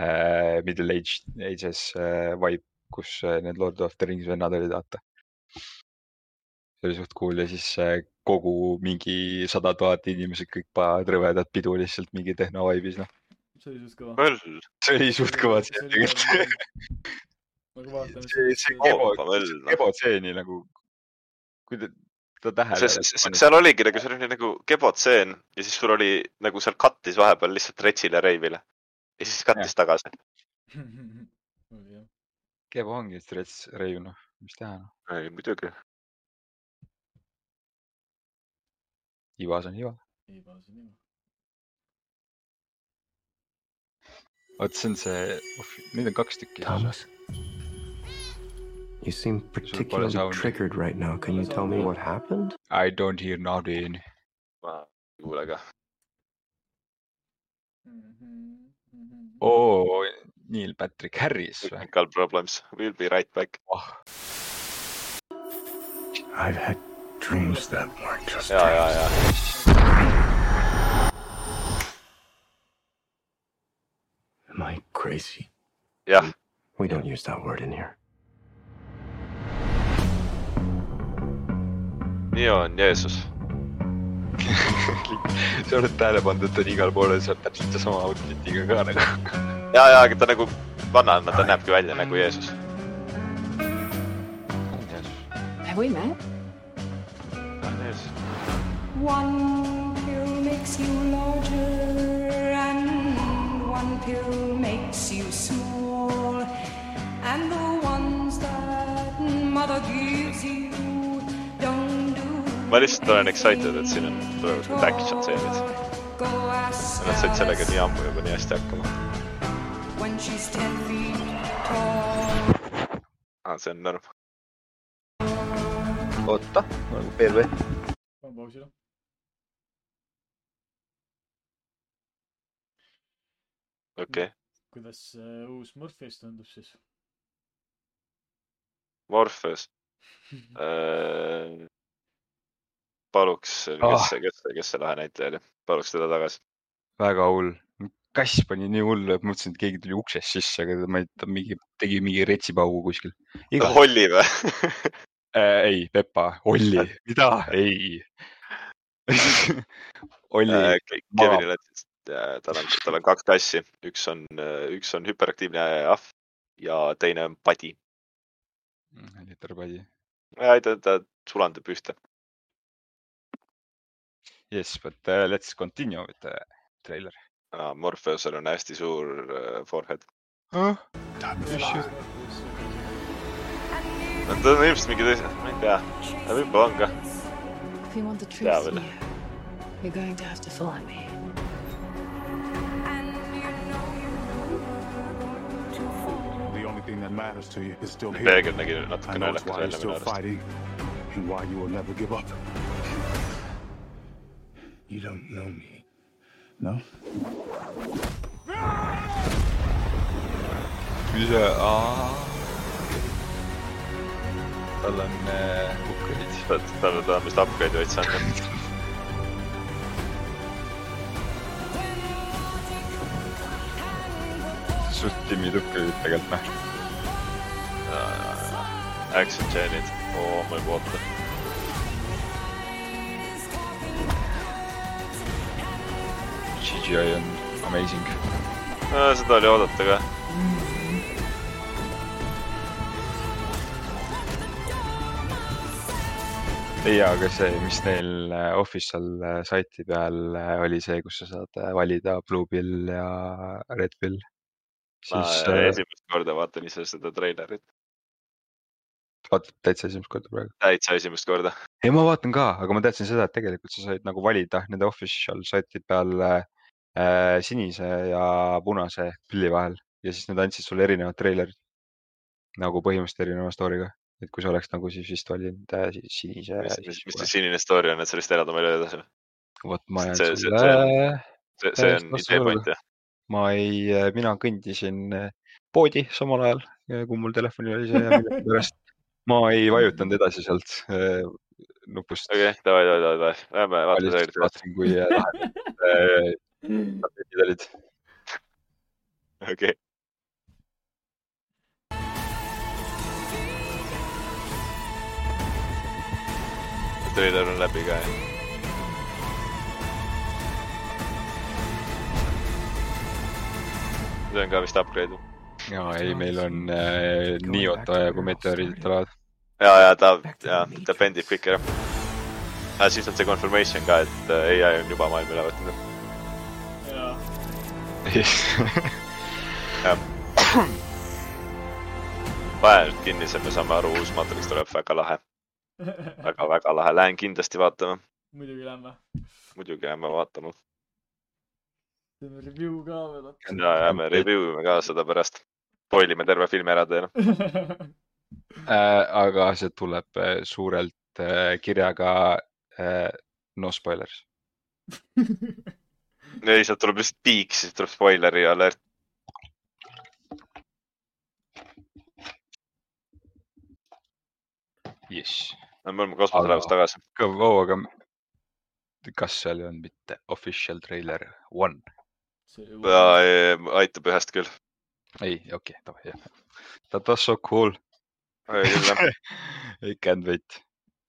B: äh, middle age , ages äh, vibe , kus äh, need Lord of the Rings vennad olid , vaata . see oli suht cool ja siis äh, kogu mingi sada tuhat inimesed kõik panevad rõvedat pidu lihtsalt mingi tehno vibe'is , noh .
D: see oli suht kõva .
C: möll ,
B: see oli suht kõva tseen tegelikult .
D: aga vaatame
B: see , see
D: siis . äh,
B: Kebo
C: koopa , möll noh .
B: Kebo tseeni nagu , kui ta , ta
C: see ,
B: tähele
C: see , seal oligi nagu , seal oli nagu kebotseen ja siis sul oli nagu seal cut'is vahepeal lihtsalt retsile reivile . ja siis cut'is tagasi .
D: oli jah .
B: Kebo ongi stress , reiv , noh , mis teha , noh .
C: ei muidugi .
B: ivas on iva .
D: ei pane see nime .
B: vot see on see , neid on oh, kaks tükki .
F: Thomas, You seem
B: pole
F: particularly
B: soundi.
F: triggered right now. Can you tell me what happened?
B: I don't hear nothing .
C: ma ei kuule ka . Oh.
B: oo , Neil Patrick Harris või ?
C: Technical problems , we will be right back .
G: I've had dreams that weren't just
C: ja , ja ,
G: dreams.
C: ja .
F: Am I crazy?
C: jah ,
F: We don't use that word in here.
C: nii on , Jeesus .
B: sa oled tähele pannud , et ta on igal pool seal täpselt seesama outfit'iga ka nagu .
C: ja , ja , aga ta nagu vanaema , ta näebki välja nagu Jeesus .
H: Have we met?
C: ta on Jeesus .
I: One pill makes you larger, and one pill makes you small. And the ones that mother gives you don't do.
C: ma lihtsalt olen excited , et siin on tulevad need action stseenid .
I: Go ask
C: Nad said sellega
I: Alice
C: nii ammu juba nii hästi hakkama .
I: when she's ten feet tall.
C: aa , Ah, see on norm .
B: oota , nagu PLV .
D: panen pausile .
C: okei okay. ,
D: kuidas äh, uus Murphy's tundub siis ?
C: Morpheus äh, . paluks , kes see , kes see , kes see lahe näitleja oli , paluks teda tagasi .
B: väga hull . kass pani nii hullu , et mõtlesin , et keegi tuli uksest sisse , aga ma ei , ta mingi , tegi mingi retsipaugu kuskil . Igal...
C: Holli või ?
B: Äh, ei , Pepa , Olli , mida ? ei . Olli ,
C: Kevinil on siis , tal on , tal on kaks kassi , üks on , üks on hüperaktiivne ahv ja teine on padi .
B: tarbadi .
C: ta , ta sulandub ühte .
B: Yes , but uh, let's continue with the trailer
C: Morpheusel on hästi suur äh, forehead .
B: huh? .
G: Time to fly.
C: no ta on ilmselt mingi teise , ma ei tea , ta võib-olla on ka .
H: If you want the truth,
C: Yeah, but-
H: here, you're going to have to follow me.
G: The only thing that matters to you is still here.
C: peegel nägi
G: I
C: natuke
G: know it's
C: naljakas
G: why you're
C: välja minu
G: still
C: arust .
G: fighting and why you will never give up. You don't know me. No?
B: mis see , ah. tal on äh, kukkasid .
C: tal , tal on vist upgrade'i veits andnud .
B: suht timmi tukkasid tegelikult noh .
C: Action chain'id , Oh oo ma juba ootan .
B: CGI on amazing .
C: seda oli oodata ka .
B: ei , aga see , mis neil äh, official äh, saiti peal äh, oli see , kus sa saad äh, valida Blue Pill ja Red Pill .
C: ma
B: siis
C: äh,
B: äh,
C: esimest korda vaatan ise seda treilerit ,
B: vaatad täitsa esimest korda praegu .
C: täitsa esimest korda .
B: ei , ma vaatan ka , aga ma teadsin seda , et tegelikult sa said nagu valida nende official site'i peal äh, sinise ja punase pilli vahel ja siis nad andsid sulle erinevad treilerid . nagu põhimõtteliselt erineva story'ga , et kui sa oleks nagu siis vist valinud äh, siis sinise .
C: mis , mis , mis see sinine story on , et sellest elada meil edasi või ?
B: vot ma
C: see-
B: jään
C: see- see-
B: sulle ,
C: see , Äh, see
B: Täiesti
C: on
B: vastu
C: idee point jah ?
B: ma ei , mina kõndisin äh, poodi samal ajal , kui mul telefonil oli see ja millegipärast ma ei vajutanud edasi sealt äh, nupust
C: okei okay, , davai , davai , davai , davai , lähme vaatame
B: Lihtsalt
C: treilerit .
B: vaatasin , kui äh, lahedad äh, tapeedid olid .
C: okei okay. . treiler on läbi ka jah ? see on ka vist upgrade .
B: ja ei , meil on äh, nii oota aja , kui meteoriidid tulevad .
C: ja , ja ta , ja ta bändib kõik ära . aga siis on see confirmation ka , et äh, ai on juba maailma üle võtnud .
D: jaa ,
C: vahel kinni , siis me saame aru , uus materjal tuleb väga lahe , väga-väga lahe , lähen kindlasti vaatama ,
D: muidugi lähme .
C: muidugi jääme vaatama .
D: teeme review ka veel .
C: ja , ja me review ime ka seda pärast . spoil ime terve filmi ära teile .
B: Äh, aga see tuleb äh, suurelt äh, kirjaga äh, no spoilers .
C: ei , sealt tuleb lihtsalt piik , siis tuleb spoileri alert .
B: jess ,
C: me oleme kosmoselaevas
B: Aga-
C: tagasi .
B: kõva , aga kas seal ei olnud mitte official trailer one ?
D: see .
C: aitab ühest küll .
B: ei , okei okay, , davai , jah . That was so cool . I can't wait .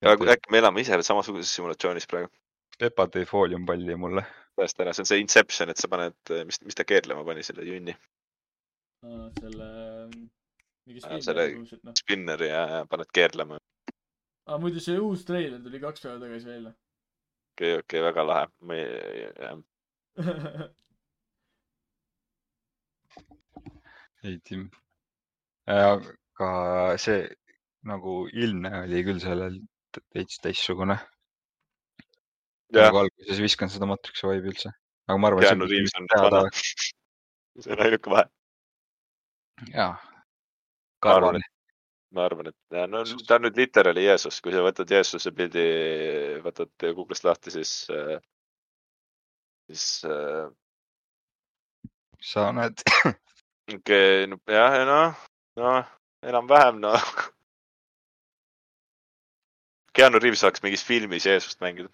C: äkki me elame ise samasuguses simulatsioonis praegu .
B: Pepa tõi fooliumpalli mulle .
C: päästa ära , see on see Inception , et sa paned , mis , mis ta keerlema pani , selle junni ,
D: selle , mingi
C: Aa,
D: spin
C: selle-
D: uus , et noh .
C: spinneri ja ja paned keerlema .
D: aga muidu see uus treiler tuli kaks päeva tagasi välja .
C: okei , okei , väga lahe . ma ei ,
B: ei , Tim . aga see nagu ilmne oli küll sellel t- veits teistsugune .
C: jah ,
B: nagu alguses viskan seda Matrixi vibe'i üldse , aga ma arvan ,
C: Keanu Reaves on vana . see on ainuke vahe .
B: jaa .
C: Ma arvan,
B: karvane ,
C: ma arvan , et ja, no, ta on nüüd literaali Jeesus , kui sa võtad Jeesuse pildi , võtad Google'ist lahti , siis , siis äh,
B: sa näed ,
C: okei okay, , no jah , noh , noh , enam-vähem , noh . Keanu Reaves saaks mingis filmis Jeesust mängida .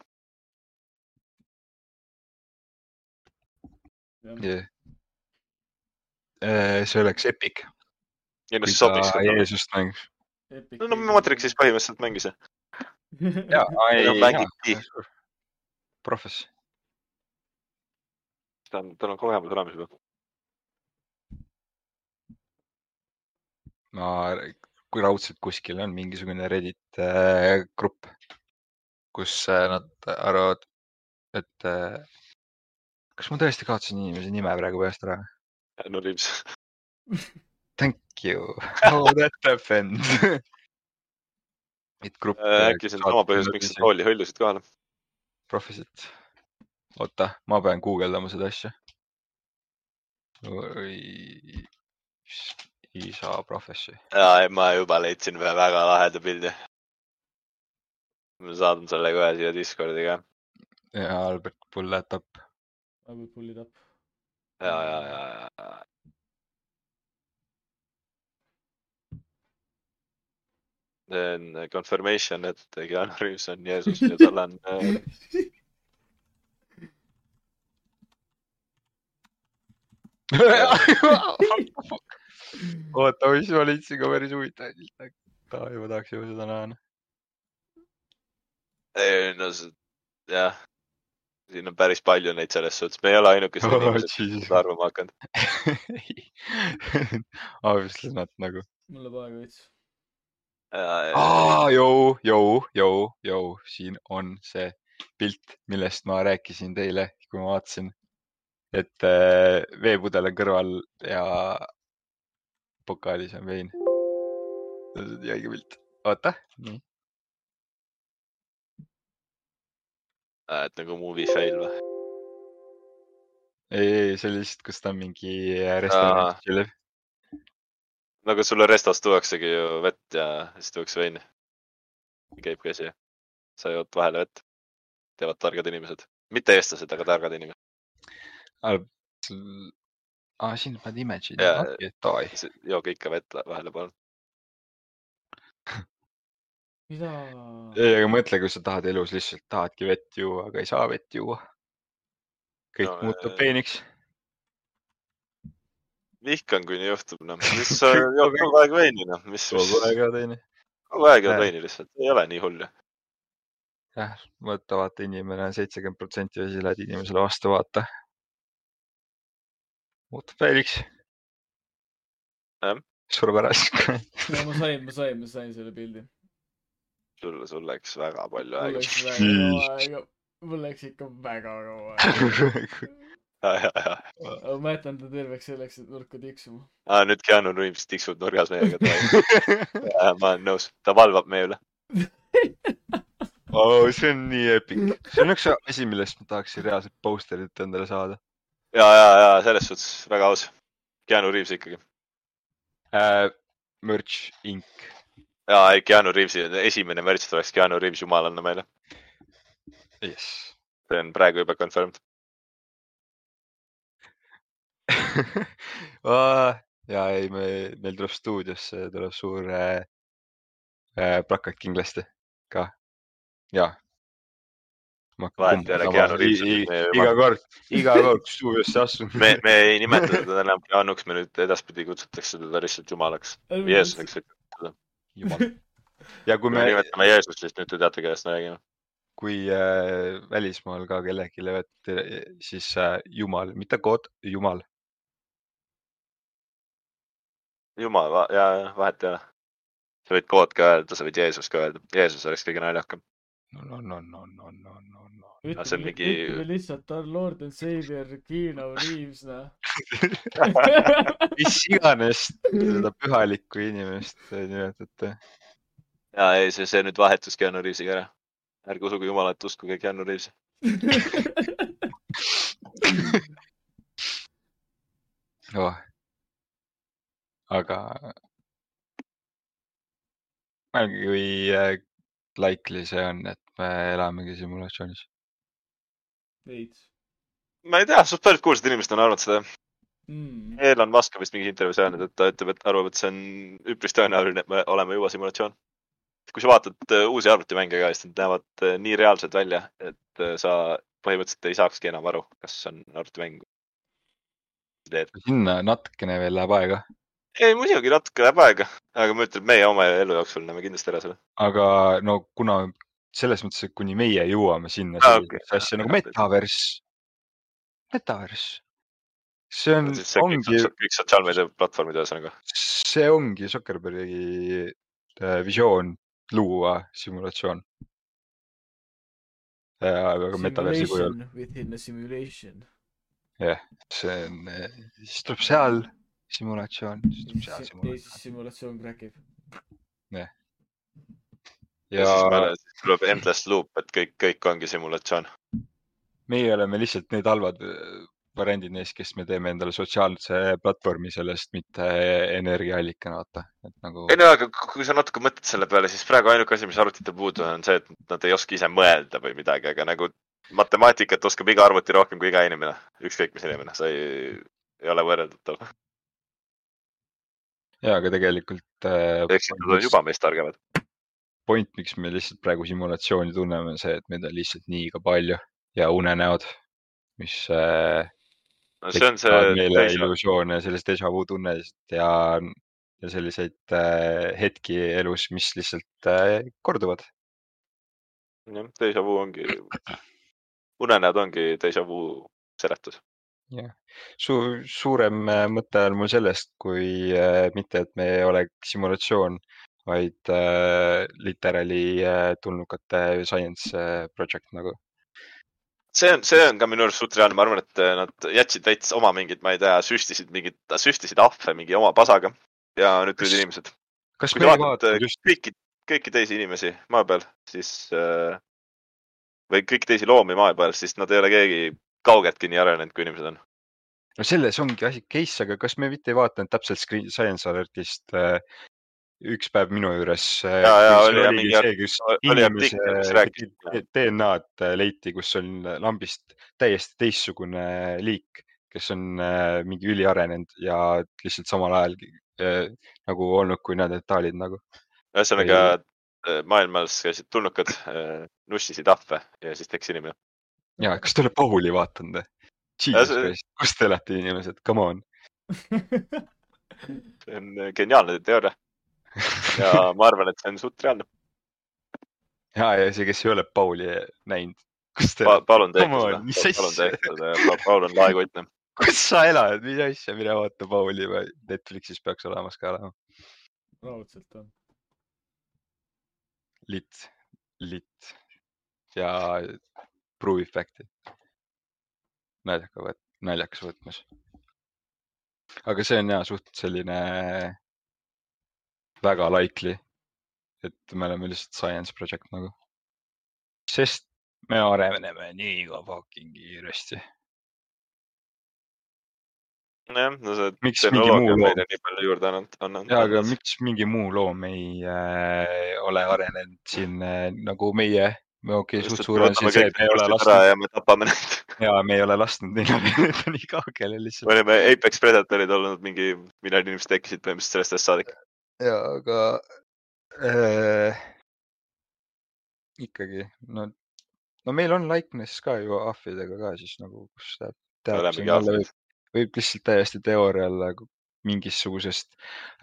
B: Äh, see oleks epic ,
C: ei , no
B: kui
C: see
B: ta
C: noh, sobiks .
B: Jeesust mängiks .
C: no, no Matrixis põhimõtteliselt mängis jah .
B: jaa , ei
C: No , mängibki.
B: jaa . profess ,
C: ta on , tal on kogemus olemas juba .
B: ma , kui raudselt kuskil on mingisugune Reddit äh, grupp , kus äh, nad arvavad , et äh, kas ma tõesti kaotasin inimese nime praegu peast ära ?
C: no Reaves .
B: Thank you , Oh, how that happened et grupp .
C: Äh,
B: äh,
C: äkki see on sama põhjus , miks sa tooli hõljusid kohale .
B: professit . oota , ma pean guugeldama seda asja . isa professi ,
C: jaa , ei ma juba leidsin ühe väga laheda pildi . ma saadan selle kohe siia Discordi ka .
B: Albert Pulletap .
D: I will pull it up .
C: ja , ja , ja , ja . see on confirmation , et Keanu Reaves on Jeesus ja tal on äh,
B: oota , mis ma leidsin ka päris huvitav silt . taeva tahaks juba seda näha .
C: ei no see , jah . siin on päris palju neid selles suhtes , me ei ole ainukesed
B: Oh,
C: inimesed , kes
B: Jesus.
C: seda arvama hakanud .
B: Obviously not nagu .
D: mul läheb aega veits .
B: aa , jõu , jõu , jõu , jõu , siin on see pilt , millest ma rääkisin teile , kui ma vaatasin , et äh, veepudel on kõrval ja pokaalis on vein . see on nii õige pilt , oota , nii ,
C: et nagu movie fail või ?
B: ei , ei , see oli lihtsalt , kus ta mingi
C: Aa.
B: restoranis tšillib .
C: no aga sulle restos tuuaksegi ju vett ja siis tuuakse veini . käib ka asi . sa jood vahele vett . teevad targad inimesed , mitte eestlased , aga targad inimesed .
B: aa , siin paned image'i
C: Jaa. ,
B: davai ,
C: jooge ikka vett la- vahele , palun .
D: mida ?
B: ei , aga mõtle , kui sa tahad elus lihtsalt tahadki vett juua , aga ei saa vett juua . kõik
C: No,
B: no, muutub
C: äh,
B: peeniks
C: vihkan , kui nii juhtub , noh . mis sa jood kogu aeg veini , noh . mis ,
B: kogu aeg on teine .
C: kogu aeg jood
B: Jah.
C: veini lihtsalt , ei ole nii hull ju .
B: jah , vaata , vaata inimene on seitsekümmend protsenti vesi , lähed inimesele vastu , vaata . muutub päeviks
C: Jah. .
B: sureb ära siis .
D: ma sain , ma sain , ma sain selle pildi .
C: sul , sul läks väga palju
D: mul
C: aega .
D: läks väga kaua aega , mul läks ikka väga kaua aega .
C: ja , ja , ja .
D: aga ma jätan ta terveks selleks , et nurka tiksuma .
C: ah, . nüüd Keanu Reaves tiksub nurgas meiega . ma olen nõus , ta valvab meie üle .
B: oo , Oh, see on nii epic . see on üks asi , millest ma tahaksin reaalselt posterit endale saada
C: ja , ja , ja selles suhtes väga aus . Keanu Reaves ikkagi .
B: äh, . Merch Inc ,
C: jaa , ei Keanu Reaves , esimene märts tuleks Keanu Reaves jumalanna meile .
B: jess
C: see on praegu juba confirmed .
B: ja ei , me , meil tuleb stuudiosse , tuleb suur äh, äh, plakat kindlasti ka . ja .
C: Vahet ei ole, Keanu Reaves on meie juba.
B: iga kord , iga kord , kui stuudiosse astun .
C: me , me ei nimeta teda enam Keanuks , me nüüd edaspidi kutsutakse teda lihtsalt jumalaks . Jeesuseks ,
B: jumal . ja kui
C: kui
B: me
C: me , nimetame Jeesust , siis nüüd te teate , kellest me räägime .
B: kui äh, välismaal ka kellelegi levet , siis äh, jumal , mitte kod , jumal .
C: jumal va- ja ja, vahet ei ole . sa võid kood ka öelda , sa võid Jeesus ka öelda , Jeesus oleks kõige naljakam .
B: on , on , on , on , on , on , on , on .
C: No see on
D: ütleme ,
C: mingi-
D: ütleme lihtsalt our lord and savior Keanu Reaves , noh .
B: mis iganes te seda pühalikku inimest äh, nimetate .
C: ja ei , see , see nüüd vahetus Keanu Reavesiga ära . ärge usuge jumalat , uskuge Keanu Reavesi . Noh.
B: oh. . aga mõelge , kui äh, likely see on , et me elamegi simulatsioonis .
D: veits .
C: ma ei tea , suht paljud kuulsad inimesed on arvanud seda .
D: Mm.
C: Elon Musk on vist mingis intervjuus öelnud , et ta ütleb , et arvab , et see on üpris tõenäoline , et me oleme juba simulatsioon . kui sa vaatad äh, uusi arvutimänge ka , siis nad näevad äh, nii reaalsed välja , et äh, sa põhimõtteliselt ei saakski enam aru , kas see on arvutimäng . teed .
B: sinna natukene veel läheb aega ,
C: ei , muidugi natuke läheb aega , aga ma ütlen , et meie oma elu jooksul näeme kindlasti ära selle .
B: aga no kuna selles mõttes , et kuni meie jõuame sinna
C: Aa,
B: sellisesse
C: okei.
B: asja nagu metavers , metavers , see on ,
C: siis see kõik,
B: ongi ,
C: sots- kõik sotsiaalmeediaplatvormid ühesõnaga .
B: see ongi Zuckerbergi äh, visioon luua simulatsioon . aga metaversi kujul ,
D: Simulation within a simulation .
B: see on , siis tuleb seal simulatsioon , siis tuleb seal simulatsioon
D: teises simulatsioon kräkib .
C: ja siis
B: ja
C: meil siis tuleb endless loop , et kõik , kõik ongi simulatsioon .
B: meie oleme lihtsalt need halvad äh, variandid neist , kes me teeme endale sotsiaalse platvormi sellest , mitte äh, energiaallikana , vaata , et nagu
C: ei . no aga k- kui sa natuke mõtled selle peale , siis praegu ainuke asi , mis arvutite puudu on , on see , et nad ei oska ise mõelda või midagi , aga nagu matemaatikat oskab iga arvuti rohkem kui iga inimene , ükskõik mis inimene , see ei, ei ole võrreldatav .
B: ja , aga tegelikult äh,
C: ehk siis nad on juba meist targemad .
B: point , miks me lihtsalt praegu simulatsiooni tunneme , on see , et meid on lihtsalt liiga palju ja unenäod , mis äh,
C: no see on see
B: tekitavad meile
C: teise ,
B: illusioone , sellist déjà vu tunnet ja , ja selliseid äh, hetki elus , mis lihtsalt äh, korduvad .
C: jah , déjà vu ongi , unenäod ongi déjà vu seletus .
B: Su- , suurem äh, mõte on mul sellest , kui äh, mitte , et me ei ole simulatsioon , vaid äh, literally äh, tulnukate science äh, project nagu .
C: see on , see on ka minu arust suht reaalne , ma arvan , et eh, nad jätsid täitsa oma mingid , ma ei tea , süstisid mingit , süstisid ahve mingi oma pasaga ja nüüd tulid
B: Kas-
C: inimesed .
B: kas
C: Kui
B: me ei
C: te vaatate-
B: vaata just ,
C: kõiki , kõiki teisi inimesi maa peal , siis äh, või kõiki teisi loomi maa peal , siis nad ei ole keegi kaugeltki nii arenenud , kui inimesed on .
B: no selles ongi asi case , aga kas me mitte ei vaadanud täpselt Screen Science Alertist äh, üks päev minu juures äh,
C: Jaa, jaa,
B: kus
C: oli jah,
B: oligi
C: mingi
B: see, kus
C: oli
B: inimese
C: artikkel, mis rääkis-
B: D- DNA-d leiti , kus on lambist täiesti teistsugune liik , kes on äh, mingi üliarenenud ja lihtsalt samal ajal äh, nagu olnud , kui nad need taalid nagu .
C: ühesõnaga äh, maailmas käisid tulnukad äh, , nussisid ahve ja siis tekkis inimene .
B: ja kas te olete Pauli vaadanud või ? Jesus
C: see-
B: Christ , kus te elate inimesed , come on .
C: see on äh, geniaalne teooria ja ma arvan , et see on suht reaalne
B: ja , ja see , kes ei ole Pauli näinud , kus te
C: pa . palun tehke
B: Come on,
C: seda ,
B: mis
C: palun
B: asja?
C: tehke seda ja pa- Paul on laekottne .
B: kus sa elad , mis asja , mine vaata Pauli või Netflixis peaks olemas ka olema .
D: raudselt on .
B: Lit , lit ja Proof Effect'i . naljaka võt- , naljakas võtmes . aga see on ja suht selline väga likely , et me oleme lihtsalt science project nagu . sest me areneme nii ka fucking kiiresti .
C: nojah , no see
B: Miks mingi
C: tehnoloogia
B: muu
C: on
B: loom?
C: meile nii palju juurde annanud , annanud .
B: jaa , aga miks mingi muu loom ei äh, ole arenenud siin äh, nagu meie ? okei okay, , suht suur on siin see , et me ei ole lasknud
C: ja me tapame neid .
B: ja me ei ole lasknud neil areneda nii kaugele lihtsalt .
C: me olime Apex Predatorid olnud mingi miljon inimest tekkisid põhimõtteliselt sellest ajast saadik .
B: jaa , aga äh, ikkagi , no , no meil on likeness ka ju ahvidega ka siis nagu , kus ta
C: olemegi ahvid.
B: võib, võib lihtsalt täiesti teooria olla ku- mingisugusest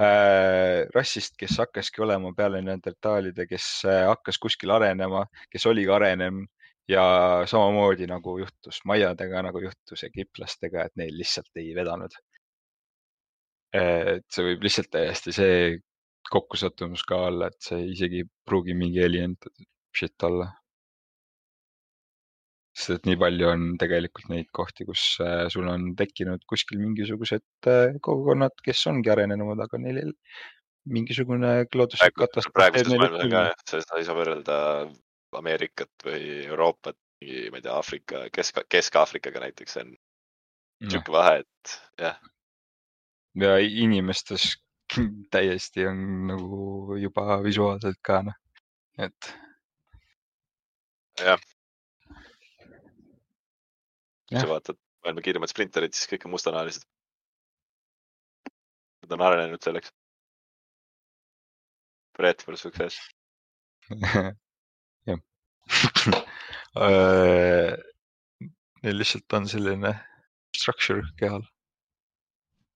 B: äh, rassist , kes hakkaski olema peale neandertaalide , kes äh, hakkas kuskil arenema , kes oli ka arenenud ja samamoodi nagu juhtus maiadega , nagu juhtus egiptlastega , et neil lihtsalt ei vedanud . et see võib lihtsalt täiesti see kokkusattumus ka olla , et see isegi ei pruugi mingi alien shit olla . sest et nii palju on tegelikult neid kohti , kus äh, sul on tekkinud kuskil mingisugused äh, kogukonnad , kes ongi arenenumad , aga neil ei- mingisugune looduslik katastroof teeb
C: praeguses
B: neile
C: maailmas on ka
B: külge .
C: jah , seda ei saa võrrelda Ameerikat või Euroopat , mingi , ma ei tea , Aafrika , Kesk , Kesk-Aafrikaga näiteks on sihuke vahe , et jah ,
B: ja inimestes täiesti on nagu juba visuaalselt ka noh , et .
C: Jah. . kui
B: jah
C: sa , vaatad maailma kiiremad sprinterid , siis kõik on mustanahalised . Nad on arenenud selleks . Brett pole siukse asja .
B: jah . Neil lihtsalt on selline structure kehal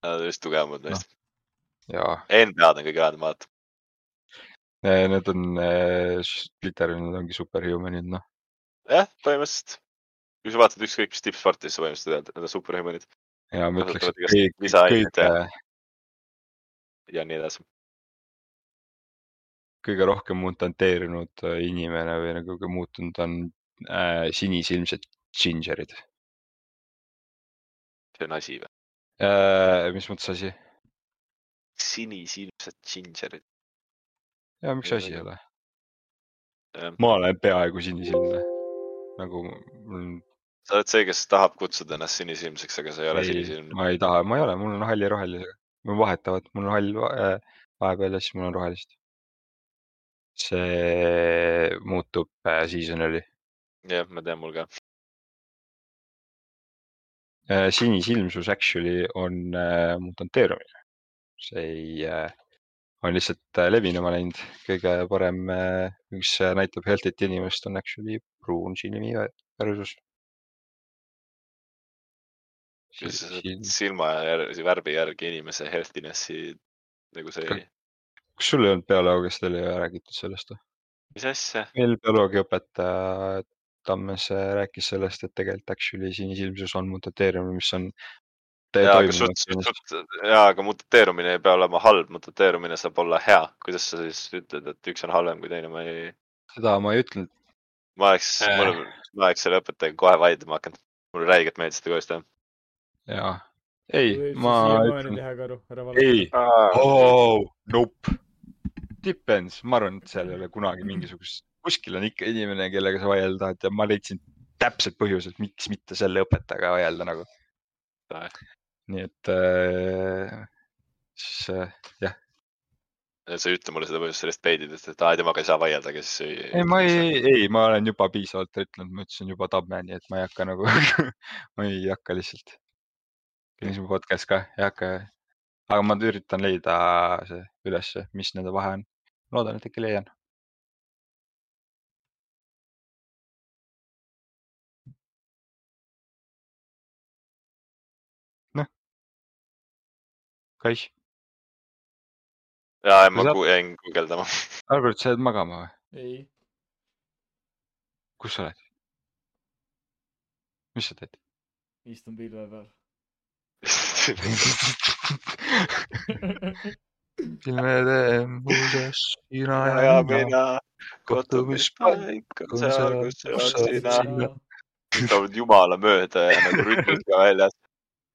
C: Nad on just tugevamad neist .
B: ja
C: NBA-d on kõige head maad .
B: eh, need on eh, s- literaalselt nad ongi superhumanid , noh .
C: jah , põhimõtteliselt . kui sa vaatad ükskõik mis tippsporti , siis sa põhimõtteliselt tead , et nad on superhumanid
B: ja ma ütleks ,
C: Kasutavad
B: et
C: igast
B: kõik ,
C: lisaaineid
B: kõige ,
C: ja nii edasi .
B: kõige rohkem mutanteerunud eh, inimene või nagu kõige muutunud on äh, sinisilmsed džinžerid
C: see on asi või ?
B: äh, . mis mõttes asi ?
C: sinisilmsed džinžerid .
B: ja miks
C: Ei
B: asi ei
C: ole.
B: ole ?
C: Jah.
B: ma olen peaaegu sinisilmne , nagu mul on
C: sa oled see , kes tahab kutsuda ennast sinisilmseks , aga sa ei ole sinisilmne .
B: ma ei taha , ma ei ole , mul on hall ja rohelisega , mul vahetavad , mul on hall va- äh, vahepeal ja siis mul on rohelist . see muutub äh, seasonally
C: jah , ma tean , mul ka .
B: äh, . sinisilmsus actually on äh, mutanteerumine , see ei äh, , on lihtsalt äh, levinema läinud , kõige parem äh, , mis äh, näitab healthy't inimest on actually pruun sinimi vä- värvus . kas
C: silma järgi , värvi järgi inimese healthiness'i nagu see ,
B: sul ei olnud bioloogiast , teil ei ole räägitud sellest või ?
C: mis asja ?
B: meil bioloogiaõpetaja Tammes äh, rääkis sellest , et tegelikult actually sinisilmsus on mutateerimine , mis on .
C: jaa , aga suht , suht , jaa , aga mutateerumine ei pea olema halb , mutateerumine saab olla hea . kuidas sa siis ütled , et üks on halvem kui teine , ma ei ,
B: seda ma ei ütelnud ,
C: ma oleks , mul ,
B: Äh.
C: ma oleks selle õpetajaga kohe vaidlema hakanud . mulle räigelt meeldis seda koostöö .
B: jaa . ei , ma
D: siiamaani
B: ütlen ,
D: teha , Karu , ära
B: ei
D: valeta .,
B: oh, . Nope . Depends , ma arvan , et seal ei ole kunagi mingisugust , kuskil on ikka inimene , kellega sa vaielda tahad ja ma leidsin täpselt põhjused , miks mitte selle õpetajaga vaielda nagu . nii et äh, siis äh,
C: sa ei ütle mulle seda põhjust sellest peididest , et aa , temaga ei saa vaielda , kes ei .
B: ei , ma ei ,. ei , ma olen juba piisavalt ütlenud , ma ütlesin juba tamme , nii et ma ei hakka nagu , ma ei hakka lihtsalt . mis mu podcast ka , ei hakka . aga ma üritan leida see ülesse , mis nende vahe on . loodan , et äkki leian . noh . Kais ,
C: jaa , ma
B: Sa-
C: gu- jäin guugeldama .
B: Albert , sa jääd magama või ?
D: ei ,
B: kus sa oled ? mis sa teed ?
D: istun pilve peal .
B: pilvede muuseas , sina
C: ja mina kohtumispaik
B: kohtumispaik
C: on
B: on
C: seal ,
B: seal,
C: kus sa
B: kus sa
C: oled
B: oled sina.
C: sina . tulevad jumala mööda ja nagu rütmid ka väljas .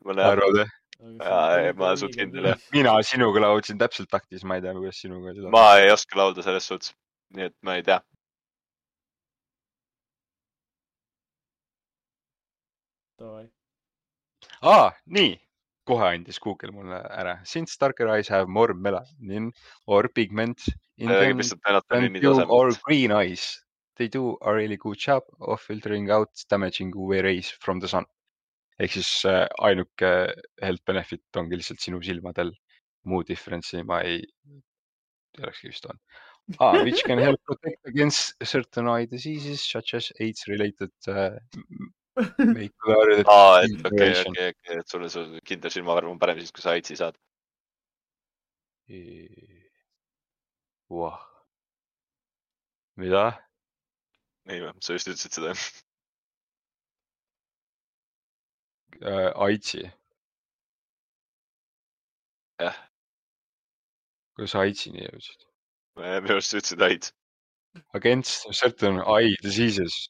C: ma näen ,
B: arvad või ?
C: Jaa, ei, ma suht kindel, jah.
B: mina sinuga laulsin täpselt taktis , ma ei tea , kuidas sinuga oli .
C: ma ei oska laulda selles suhtes , nii et ma ei tea .
D: Davai.
B: aa , nii , kohe andis Google mulle ära. Since darker eyes have more melanin or pigment
C: Äh,
B: in them
C: vist on
B: than
C: melatoniini
B: blue or
C: tasemel .
B: green eyes. They do a really good job of filtering out damaging UV rays from the sun. ehk siis äh, ainuke health benefit ongi lihtsalt sinu silmadel. muu difference'i ma ei teakski vist on ah, . Which can help protect against certain eye diseases such as AIDS related uh, macular .
C: aa , Ah, et okei , okei , okei , et sul , sul kindel silmavärv on parem siis , kui sa AIDSi saad .
B: Wow. mida ?
C: ei või , sa just ütlesid seda .
B: äh, AIDSi .
C: Jah. .
B: kuidas sa AIDSini jõudsid ?
C: minu arust sa ütlesid AIDS .
B: Against certain eye diseases .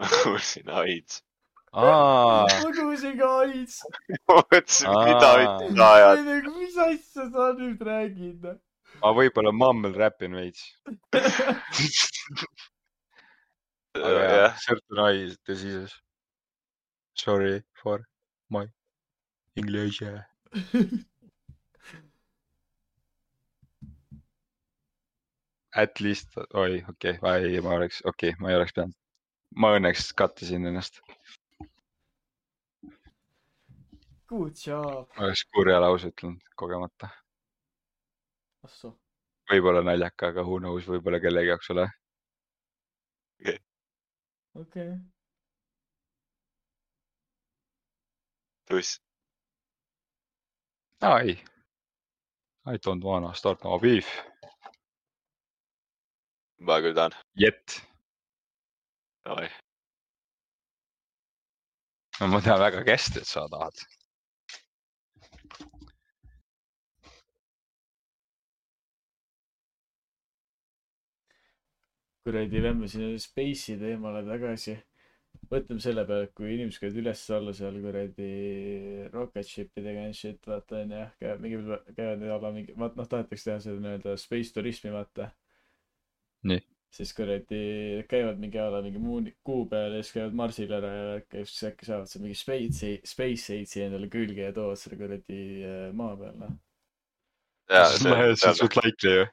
C: ma kuulsin AIDS .
B: aa ,
D: ma kuulsin ka AIDS .
C: ma mõtlesin , mida
B: Aa.
C: ütlesid sa ajad .
D: mis asja sa nüüd räägid ?
B: ma võib-olla mammel räpin veits . aga jah
C: Äh, jah ,,
B: certain eye diseases . Sorry for my english . At least , oi , okei okay, , ei , ma oleks , okei okay, , ma ei oleks pidanud . ma õnneks kattisin ennast ,
D: Good job .
B: ma oleks kurja lause ütlenud kogemata .
D: ahsoo ,
B: võib-olla naljaka , aga who knows , võib-olla kellegi jaoks ei ole .
D: okei okay. .
C: pluss .
B: aa ei . I don't wanna start no beef
C: ma küll tahan .
B: yet . ma tean väga hästi , et sa tahad .
D: kuradi , lähme sinna Space'i teemale tagasi . mõtleme selle peale , et kui inimesed käivad üles-alla seal kuradi rocket ship idega ja shit , vaata onju , käivad mingi , käivad alla mingi , vaat noh , tahetakse teha seda nii-öelda space turismi , vaata .
B: Nii.
D: siis kuradi käivad mingi alla mingi muu kuu peal ja siis käivad Marsil ära ja äkki siis äkki saavad seal mingi space , space aidsi endale külge ja toovad selle kuradi äh, maa peale .
B: see on suht likely ju .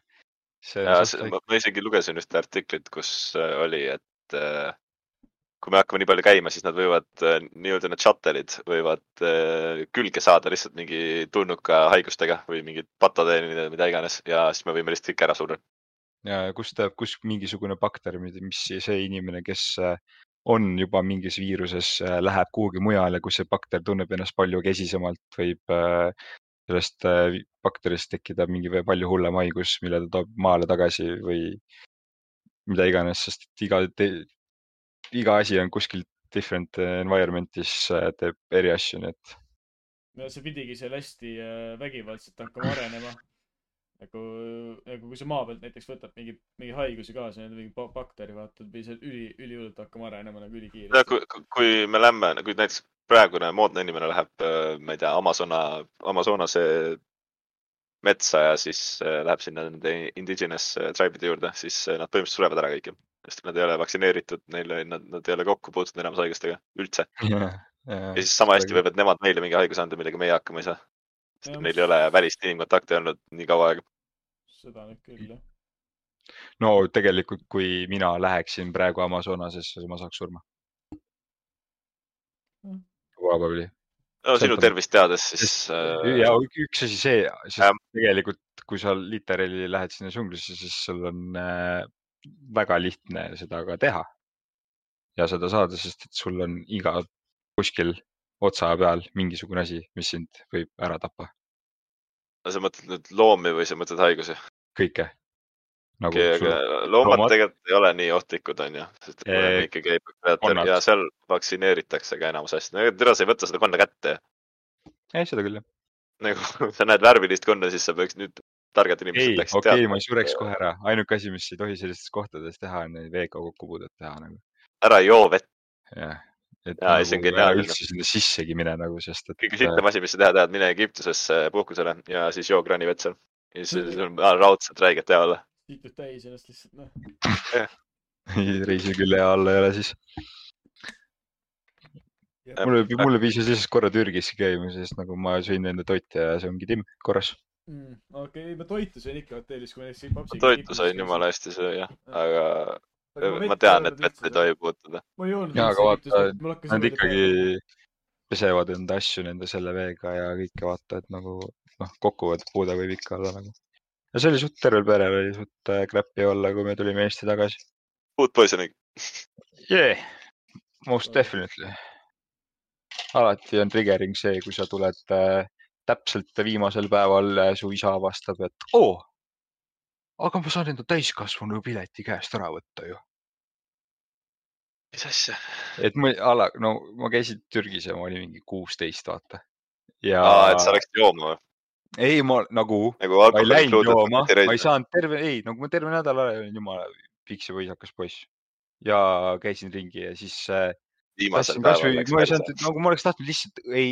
B: see
C: ja
B: on
C: see-
B: suht
C: ma
B: likely .
C: ma isegi lugesin ühte artiklit , kus äh, oli , et äh, kui me hakkame nii palju käima , siis nad võivad äh, nii-öelda need shuttle'id võivad äh, külge saada lihtsalt mingi tulnuka haigustega või mingid patogeenid , mida iganes ja siis me võime lihtsalt kõik ära surra .
B: ja kus ta , kus mingisugune bakter , mis see inimene , kes äh, on juba mingis viiruses , läheb kuhugi mujale , kus see bakter tunneb ennast palju kesisemalt , võib äh, sellest äh, vi- bakterist tekkida mingi veel palju hullem haigus , mille ta toob maale tagasi või mida iganes , sest et iga , iga asi on kuskil different environment'is äh, teeb eri asju , nii et
D: no see pidigi seal hästi äh, vägivaldselt hakkama arenema . nagu , nagu kui sa maa pealt näiteks võtad mingi , mingi haiguse kaasa , mingi ba- bakteri vaata , et pidi seal üli , ülihullult hakkama arenema nagu
C: no
D: ülikiiresti .
C: kui , kui me lähme , kui näiteks praegune moodne inimene läheb , ma ei tea , Amazona , Amazonase metsa ja siis äh, läheb sinna nende indigenous äh, tribe'ide juurde , siis äh, nad põhimõtteliselt surevad ära kõik ju . sest nad ei ole vaktsineeritud , neil , nad , nad ei ole kokku puutunud enamus haigustega üldse
B: yeah, .
C: ja
B: Yeah.
C: siis sama hästi
B: Väga-
C: võivad nemad meile mingi haiguse anda , millega meie hakkama ei saa . sest
D: Jah.
C: neil ei ole välist inimkontakti olnud nii kaua aega .
D: seda nüüd küll jah .
B: no tegelikult , kui mina läheksin praegu Amazonasesse , siis ma saaks surma
D: Mm. .
B: Probably .
C: no sinu
B: Sõltub-
C: tervist teades , siis
B: Sest-
C: äh, ähm.
B: ja ü- üks asi see ,
C: jah.
B: sest tegelikult , kui sa literaali lähed sinna džunglisse , siis sul on äh, väga lihtne seda ka teha . ja seda saada , sest et sul on iga kuskil otsa peal mingisugune asi , mis sind võib ära tappa ,
C: sa mõtled nüüd loomi või sa mõtled haigusi ?
B: kõike . nagu
C: okei ,
B: sul
C: aga loomad
B: loomad-
C: tegelikult ei ole nii ohtlikud , onju , sest et
B: Eh,
C: loom ikkagi käib
B: on nad.
C: predator ja seal vaktsineeritakse ka enamus asju , no ega türa sa ei võta seda konna kätte .
B: ei , seda küll jah .
C: nagu sa näed värvilist konna , siis sa peaks nüüd , targad inimesed
B: ei ,
C: peaksid
B: okei , ma ei sureks kohe ära , ainuke asi , mis ei tohi sellistes kohtades teha , on veega kokkupuudet teha nagu ,
C: ära ei joo vett ,
B: jah . et
C: Jaa, see on
B: nagu ära
C: geniaalne.
B: üldse sinna sissegi mine nagu , sest et
C: kõige sitem asi , mis sa teha tead , mine Egiptusesse puhkusele ja siis joo kraanivett seal . ja siis sul on raudselt räigelt hea olla .
D: tiitud täis ennast lihtsalt noh .
B: äh, reisi külje all ei ole siis . mulle , mulle piisas lihtsalt korra Türgisse käima , sest nagu ma sõin nende toite ja see ongi timm , korras .
D: mm, . okei okay, , ma toitu sõin ikka hotellis , kui ma näiteks papsiga .
C: toitu sain jumala hästi süüa , aga ma tean , et vett ei . tohi puutuda .
D: ma ei joonud .
B: Jaa, aga vaata, Nad ikkagi pesevad enda asju nende selle veega ja kõike vaata , et nagu noh , kokkuvõttes puude võib ikka olla nagu . ja see oli suht tervel perel oli suht äh, crap'i olla , kui me tulime Eesti tagasi
C: Food poisoning .
B: yeah. . Most definitely . alati on triggering see , kui sa tuled äh, täpselt viimasel päeval äh, su isa vastab , et oo , aga ma saan enda täiskasvanu pileti käest ära võtta ju .
C: mis asja ?
B: et ma ala , no ma käisin Türgis ja ma olin mingi kuusteist , vaata . ja
C: aa , et sa läksid jooma või ?
B: ei , ma nagu ,
C: nagu
B: ma ei läinud jooma , ma ei
C: alkohol .
B: saanud terve , ei nagu ma terve nädala ajal olin jumala piks ja võisakas poiss ja käisin ringi ja siis äh,
C: viimasel
B: tahtsin kasvõi ,
C: päeval läks
B: ma ei
C: perse .
B: saanud , nagu ma oleks tahtnud lihtsalt , ei ,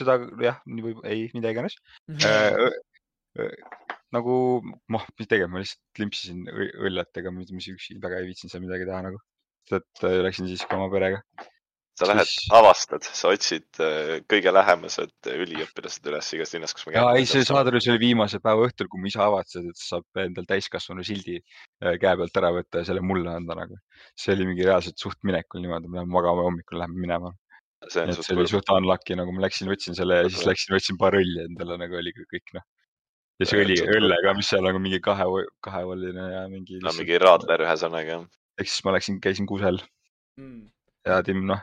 B: seda jah , nii võib , ei , mida iganes äh, . nagu noh , mis tegema , ma lihtsalt limpsisin õi- õlletega , ma üldse üksi väga ei viitsinud seal midagi teha nagu . et äh, läksin siis ka oma perega .
C: sa lähed
B: siis- ,
C: avastad , sa otsid äh, kõige lähemased äh, üliõpilased üles igas linnas , kus ma
B: ja ei , see saade oli , see oli viimase päeva õhtul , kui mu isa avatses , et saab endal täiskasvanu sildi äh, käe pealt ära võtta ja selle mulle anda nagu . see oli mingi reaalselt suht minekul niimoodi , me läheme magama ja hommikul läheme minema .
C: see on
B: et see oli
C: suht-
B: suht unlucky nagu ma läksin , võtsin selle ja siis
C: Väga.
B: läksin , võtsin paar õlli endale nagu oli kõ- kõik noh . ja
C: Ja,
B: see
C: et
B: õli ,
C: suht-
B: õlle ka , mis seal nagu mingi kahe , kahevalline ja mingi
C: no, . mingi raadler ühesõnaga .
B: ehk siis ma läksin , käisin kusel
D: mm, .
B: ja Tim noh ,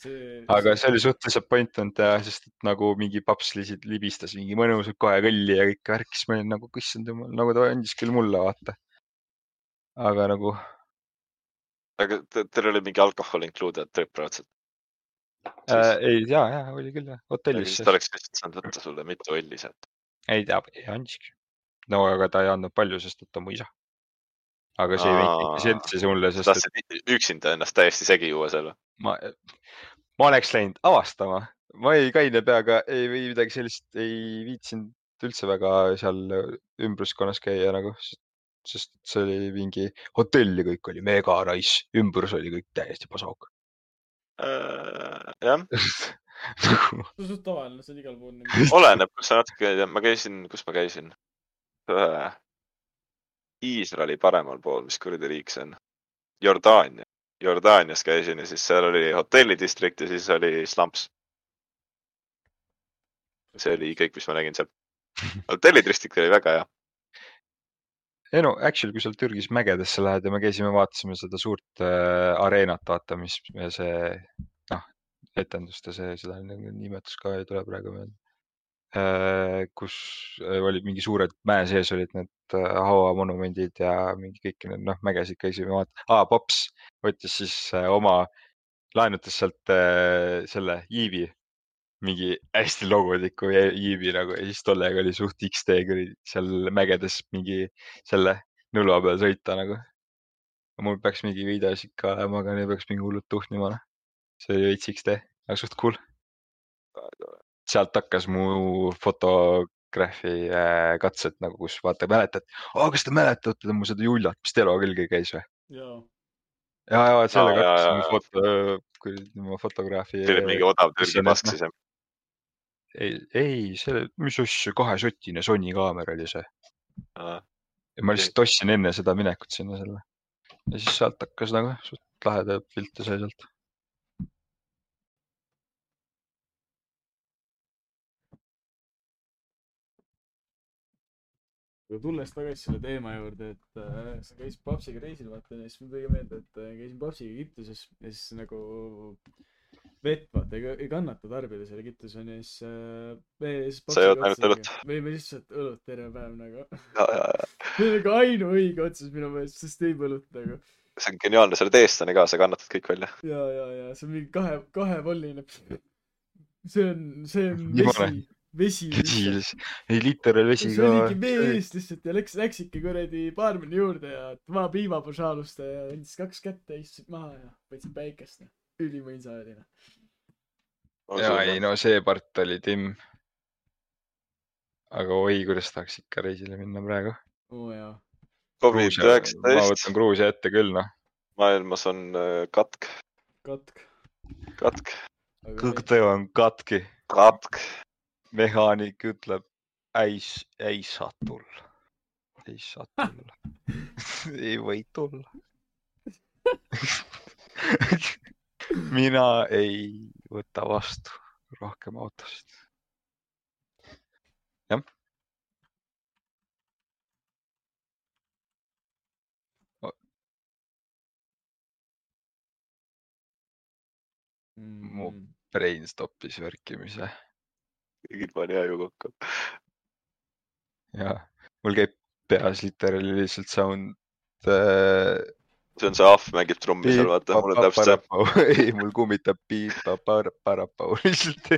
D: see .
B: aga see oli suht disappointment ja sest et nagu mingi paps lihtsalt libistas mingi mõnusalt kohe kõlli ja kõik värk , siis ma olin nagu , issand jumal , nagu ta andis küll mulle vaata . aga nagu
C: aga te- teil oli mingi alkohol included trip raudselt .
B: äh, ei , ja , ja oli küll jah , hotellis
C: siis . ta oleks lihtsalt saanud võtta sulle mitu õlli sealt .
B: ei ta ei andiski . no aga ta ei andnud palju , sest et ta on mu isa . aga see ei
C: Aa.
B: veidi sentsi mulle ,
C: sa
B: sest et
C: tahtsid i- üksinda ennast täiesti segi juua seal või ?
B: ma , ma oleks läinud avastama , ma ei kaine peaga ei või midagi sellist , ei viitsinud üldse väga seal ümbruskonnas käia nagu , sest see oli mingi hotell ja kõik oli mega nice , ümbrus oli kõik täiesti pasauk .
C: jah ,
B: Nagu
D: see on suht tavaline , see on igal pool .
C: oleneb , kus sa natuke , ma käisin , kus ma käisin ? Iisraeli paremal pool , mis kuradi riik see on ? Jordaania , Jordaanias käisin ja siis seal oli hotellidistrikt ja siis oli slumps . see oli kõik , mis ma nägin seal . hotellidistrikt oli väga hea .
B: ei no actually , kui seal Türgis mägedesse lähed ja me käisime , vaatasime seda suurt äh, areenat , vaata , mis me see noh , etenduste see , seda nagu nimetus ka ei tule praegu meelde äh, . kus äh, olid mingi suured mäe sees olid need äh, hauamonumendid ja mingi kõik need noh , mägesid käisime vaata- ah, , paps võttis siis äh, oma , laenutas sealt äh, selle iivi mingi hästi logodiku ja- iivi nagu ja siis tollega oli suht X-tee kuradi seal mägedes mingi selle nõlva peal sõita nagu . mul peaks mingi videos ikka olema , aga neil peaks mingi hullult tuhnima noh . see oli veits X-tee , aga suht cool . sealt hakkas mu fotograafi äh, katset nagu , kus vaata mäletad , kas te mäletate mu seda Juljat , mis Telo külge käis või ?
D: jaa ,
B: ja , ja
C: Aa,
B: sellega
C: jaa,
B: hakkas
C: jaa,
B: mu
C: jaa.
B: foto , kuradi mu fotograafi .
C: see oli mingi odav Türgi
B: Sinna-
C: pask siis jah .
B: ei , ei , see , mis asja , kahesotine Sony kaamera oli see . ja ma
C: Okei.
B: lihtsalt ostsin enne seda minekut sinna selle . ja siis sealt hakkas nagu suht laheda pilte sai sealt .
D: aga tulles tagasi selle teema juurde , et äh, sa käisid papsiga reisil , vaata , ja siis mul tuli meelde , et äh, käisin papsiga Egiptuses ja siis nagu vett , vaata , ei, ei kannata tarbida seal Egiptuses onju , siis äh, me siis
C: Sa ei
D: papsiga
C: joonud ainult õlut?
D: otsustasime- me jõime lihtsalt õlut terve päev nagu .
C: see
D: see oli nagu ainuõige otsus minu meelest , sest ei põlut nagu .
C: on geniaalne , sa oled eestlane ka , sa kannatad kõik välja .
D: ja , ja , ja see on mingi kahe , kahevolline . see on , see on
B: Jumala.
D: vesi , vesi lihtsalt .
B: ei , liiter oli vesi
D: see oligi vee
B: ka .
D: ees lihtsalt ja läks , läks ikka kuradi baarmeni juurde ja tema piimapožaalust ja andis kaks kätte , istusid maha ja võtsid päikest . ülimõisa oli noh .
B: ja ei no see part oli timm . aga oi , kuidas tahaks ikka reisile minna praegu .
D: oo jaa .
C: Covid
B: ma
C: üheksateist
B: võtan , Gruusia ette küll noh .
C: maailmas on äh, katk ,
D: katk .
C: katk ,
B: kõktöö on katki ,
C: katk .
B: mehaanik ütleb , ei , ei saa tulla , ei saa tulla , ei või tulla . mina ei võta vastu rohkem autosid . jah .
D: Mm.
B: mu brain stoppis värkimise
C: kõigil pani aju kokku .
B: ja mul käib peas literaali lihtsalt sound äh, .
C: see on see ahv mängib trummi seal , vaata , mul on täpselt see .
B: ei , mul kummitab piip-parapau lihtsalt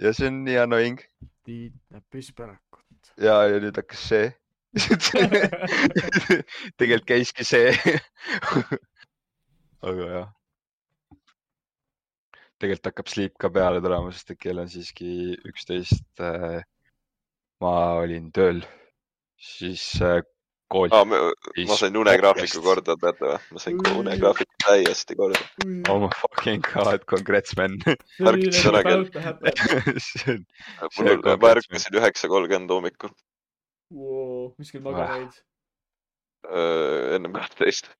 B: ja see on nii annoying
D: Tiit näppis pärakut .
B: ja , ja nüüd hakkas see . tegelikult käiski see . aga jah . tegelikult hakkab sleep ka peale tulema , sest et kell on siiski üksteist . ma olin tööl , siis äh, kool
C: aa , ma sain unegraafiku
B: Podcast.
C: korda , teate või ? ma sain ka unegraafiku täiesti korda .
B: oh my fucking god , congrats man .
C: märkis ära
D: nagu
C: küll.
B: see on , See on
C: mul , ma
B: kogemus,
C: ärkasin üheksa kolmkümmend hommikul ,
D: mis kell magamaid ?
C: äh, ennem kahteteist .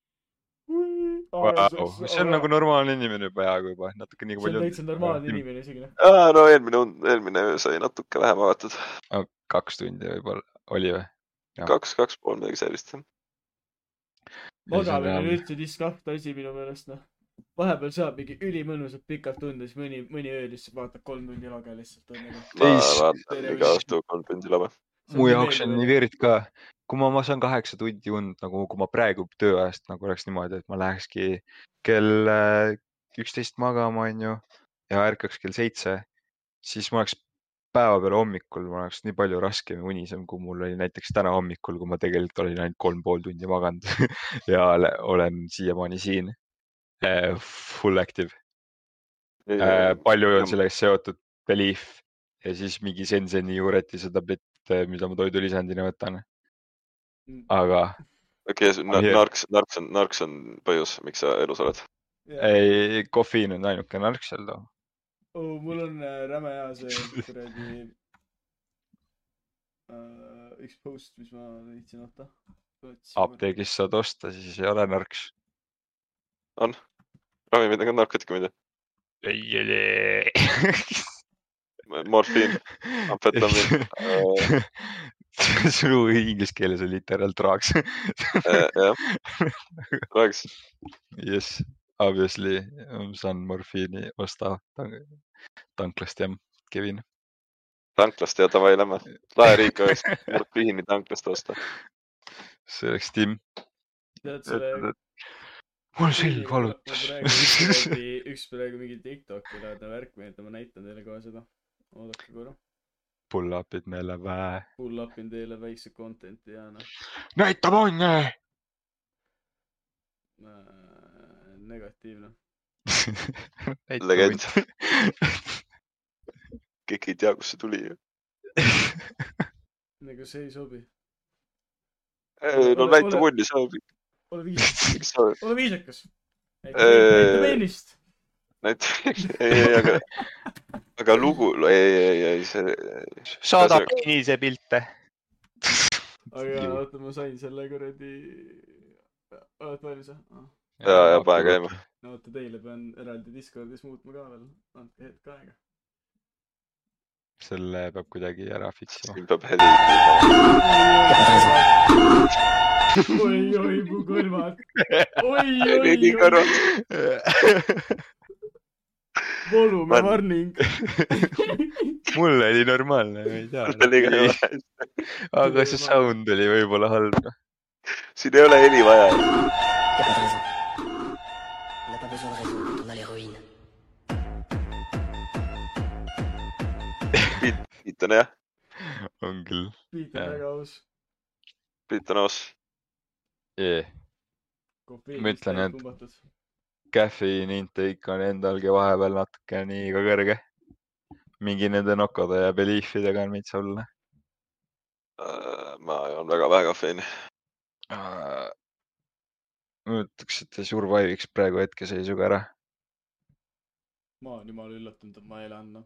B: wow. see on nagu normaalne inimene peaaegu juba , natuke nii
D: see on
B: palju .
D: täitsa normaalne . inimene isegi noh .
C: aa , no eelmine , eelmine öö sai natuke vähem avatud ,
B: kaks tundi võib-olla oli või ? Jah.
C: kaks , kaks pool midagi sellist .
D: magamine on üldse diskakt asi minu meelest noh . vahepeal saab mingi ülimõnusat pikalt tunda , siis mõni , mõni öö lihtsalt vaatab kolm tundi lage lihtsalt . nagu-
C: ma
B: Teis-
C: vaatan iga õhtu kolm tundi lava .
B: mu jaoks on nii . weird ka , kui ma , ma saan kaheksa tundi und nagu , kui ma praegu tööajast nagu oleks niimoodi , et ma lähekski kell äh, üksteist magama , onju ja ärkaks kell seitse , siis ma oleks päeva peale hommikul , mul oleks nii palju raskem ja unisem , kui mul oli näiteks täna hommikul , kui ma tegelikult olin ainult kolm pool tundi maganud ja ole- olen siiamaani siin äh, full active . Äh, palju on sellega seotud Belief ja siis mingi Senseni juuretise tablett , äh, mida ma toidulisandina võtan .
D: Mm.
B: aga
C: okei okay, ,
B: Ah, jah.
C: narks , narks on , narks on põhjus , miks sa elus oled .
B: ei , kofeiin on ainuke nark seal too .
D: oo , mul on äh, räme hea see kuradi äh, üks post , mis ma leidsin , oota .
B: apteegist saad osta , siis ei ole narks .
C: ravimid on ka narkootikumid ,
B: ei ole .
C: morfiin , Äh, amfetamiin ,
B: sinu inglise keeles on literaal traaks .
C: äh, jah , räägiks .
B: Yes , obviously ma saan morfiini osta tank- tanklast jah , Kevin .
C: tanklast ja davai lähme . lahe riik oleks morfiini tanklast osta .
B: see oleks Tim .
D: tead selle .
B: mul selg valutas .
D: üks praegu mingi Tiktoki laadne värk meelde , ma näitan teile kohe seda . oodake korra ,
B: Pull-up'id meile vähe .
D: pull up in teile väikse content'i ja noh
B: näita panne .
D: äh, negatiivne .
C: Legend. . keegi ei tea , kust see tuli .
D: nagu see ei sobi .
C: no
D: Ole-
C: näita
D: ole-
C: mulli , see on ,
D: ole viisakas ,
C: miks sa
D: ole viisakas .
C: Äh,
D: näita peenist .
C: näita , ei , ei , aga , aga lugu , ei , ei , ei , see ,
B: saada
C: Ühesõnaga-
B: peenise pilte .
D: aga oota , ma sain selle kuradi . oled valmis Ah. või ?
C: jaa , jaa , pane käima .
D: no oota , teile pean eraldi Discordis muutma ka veel , andke hetk aega .
B: selle peab kuidagi ära fix ima .
C: siin peab heli kuulama .
D: oi , oi , mu kõrvad . oi ,
C: nii
D: oi , oi ,
C: korra ,
D: volume
C: Man-
D: warning .
B: mul oli normaalne , ma ei
C: see oli ka
B: tea .
C: hea .
B: aga see sound oli võib-olla halb . noh.
C: siin ei ole heli vaja .
J: On n'a pas besoin de raison quand on a l'héroïne.
C: Priit on jah ,
B: on küll
D: Priit on
B: Jah.
D: väga aus .
C: Priit on aus .
B: yeah. . Ma ütlen, et- Caffeine intake on endalgi vahepeal natuke liiga kõrge . mingi nende nokode ja belief idega on veits hull . noh.
C: Äh, ma joon väga vähe kofeiini .
B: Äh, ma ütleks , et see survive'iks praegu hetkeseisuga ära .
D: ma olen jumala üllatunud , et ma elan , noh .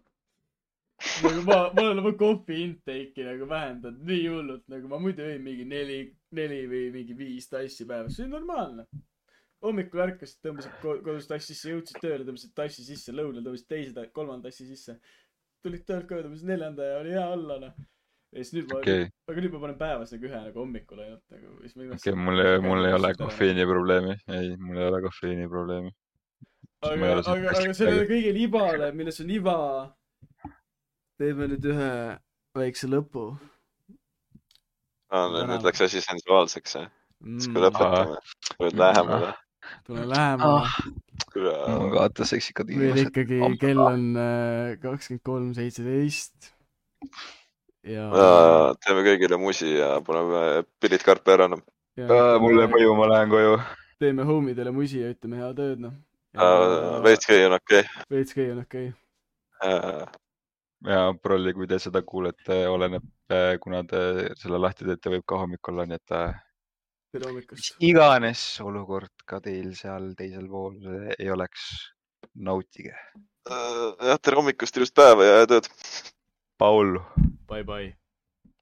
D: nagu ma , ma olen oma kohvi intake'i nagu vähendanud nii hullult , nagu ma muidu jõin mingi neli , neli või mingi viis tassi päevas , see on normaalne . hommikul ärkasid , tõmbasid ko- kodus tassi sisse , jõudsid tööle , tõmbasid tassi sisse , lõunal tõmbasid teise , kolmanda tassi sisse . tulid töölt koju , tõmbasid neljanda ja oli hea olla , noh . ja siis nüüd ma
B: okei ,
D: aga nüüd ma panen päevas nagu ühe nagu hommikul ainult nagu , siis ma
B: okei , mul , mul ei ole . kofeiiniprobleemi , ei , mul ei ole kofeiiniprobleemi . ma ei
D: aga
B: ole , siin
D: aga , aga
B: plastik-
D: sellele kõigele ibale , milles on iba , teeme nüüd ühe väikse lõpu
C: no, . Ah, nüüd läks asi sensuaalseks , siis kui
D: mm, .
C: lõpetame , tuled lähemale .
D: tule lähemale ah, .
B: ma vaatan seksikad
D: meil
B: inimesed .
D: ikkagi
B: Ammu-
D: kell on äh, kakskümmend kolm seitseteist . ja,
B: Äh,
C: Ah, teeme kõigile musi ja paneme Pirit Karpe ära , noh .
D: ja
B: mulle ei äh, mõju , ma lähen Äh, koju .
D: teeme homidele musi ja ütleme head ööd , noh .
C: Ah, veits käi on okei Ah,
D: veits käi on okei okay. .
C: okay. .
B: ja prolli , kui te seda kuulete , oleneb , kuna te selle lahti teete , võib ka hommik olla , nii et äh,
D: tere
B: mis
D: hommikust .
B: iganes olukord ka teil seal teisel pool ei oleks , nautige .
C: ah, jah , tere hommikust , ilusat päeva ja head ööd .
B: Paul .
D: Bye bye .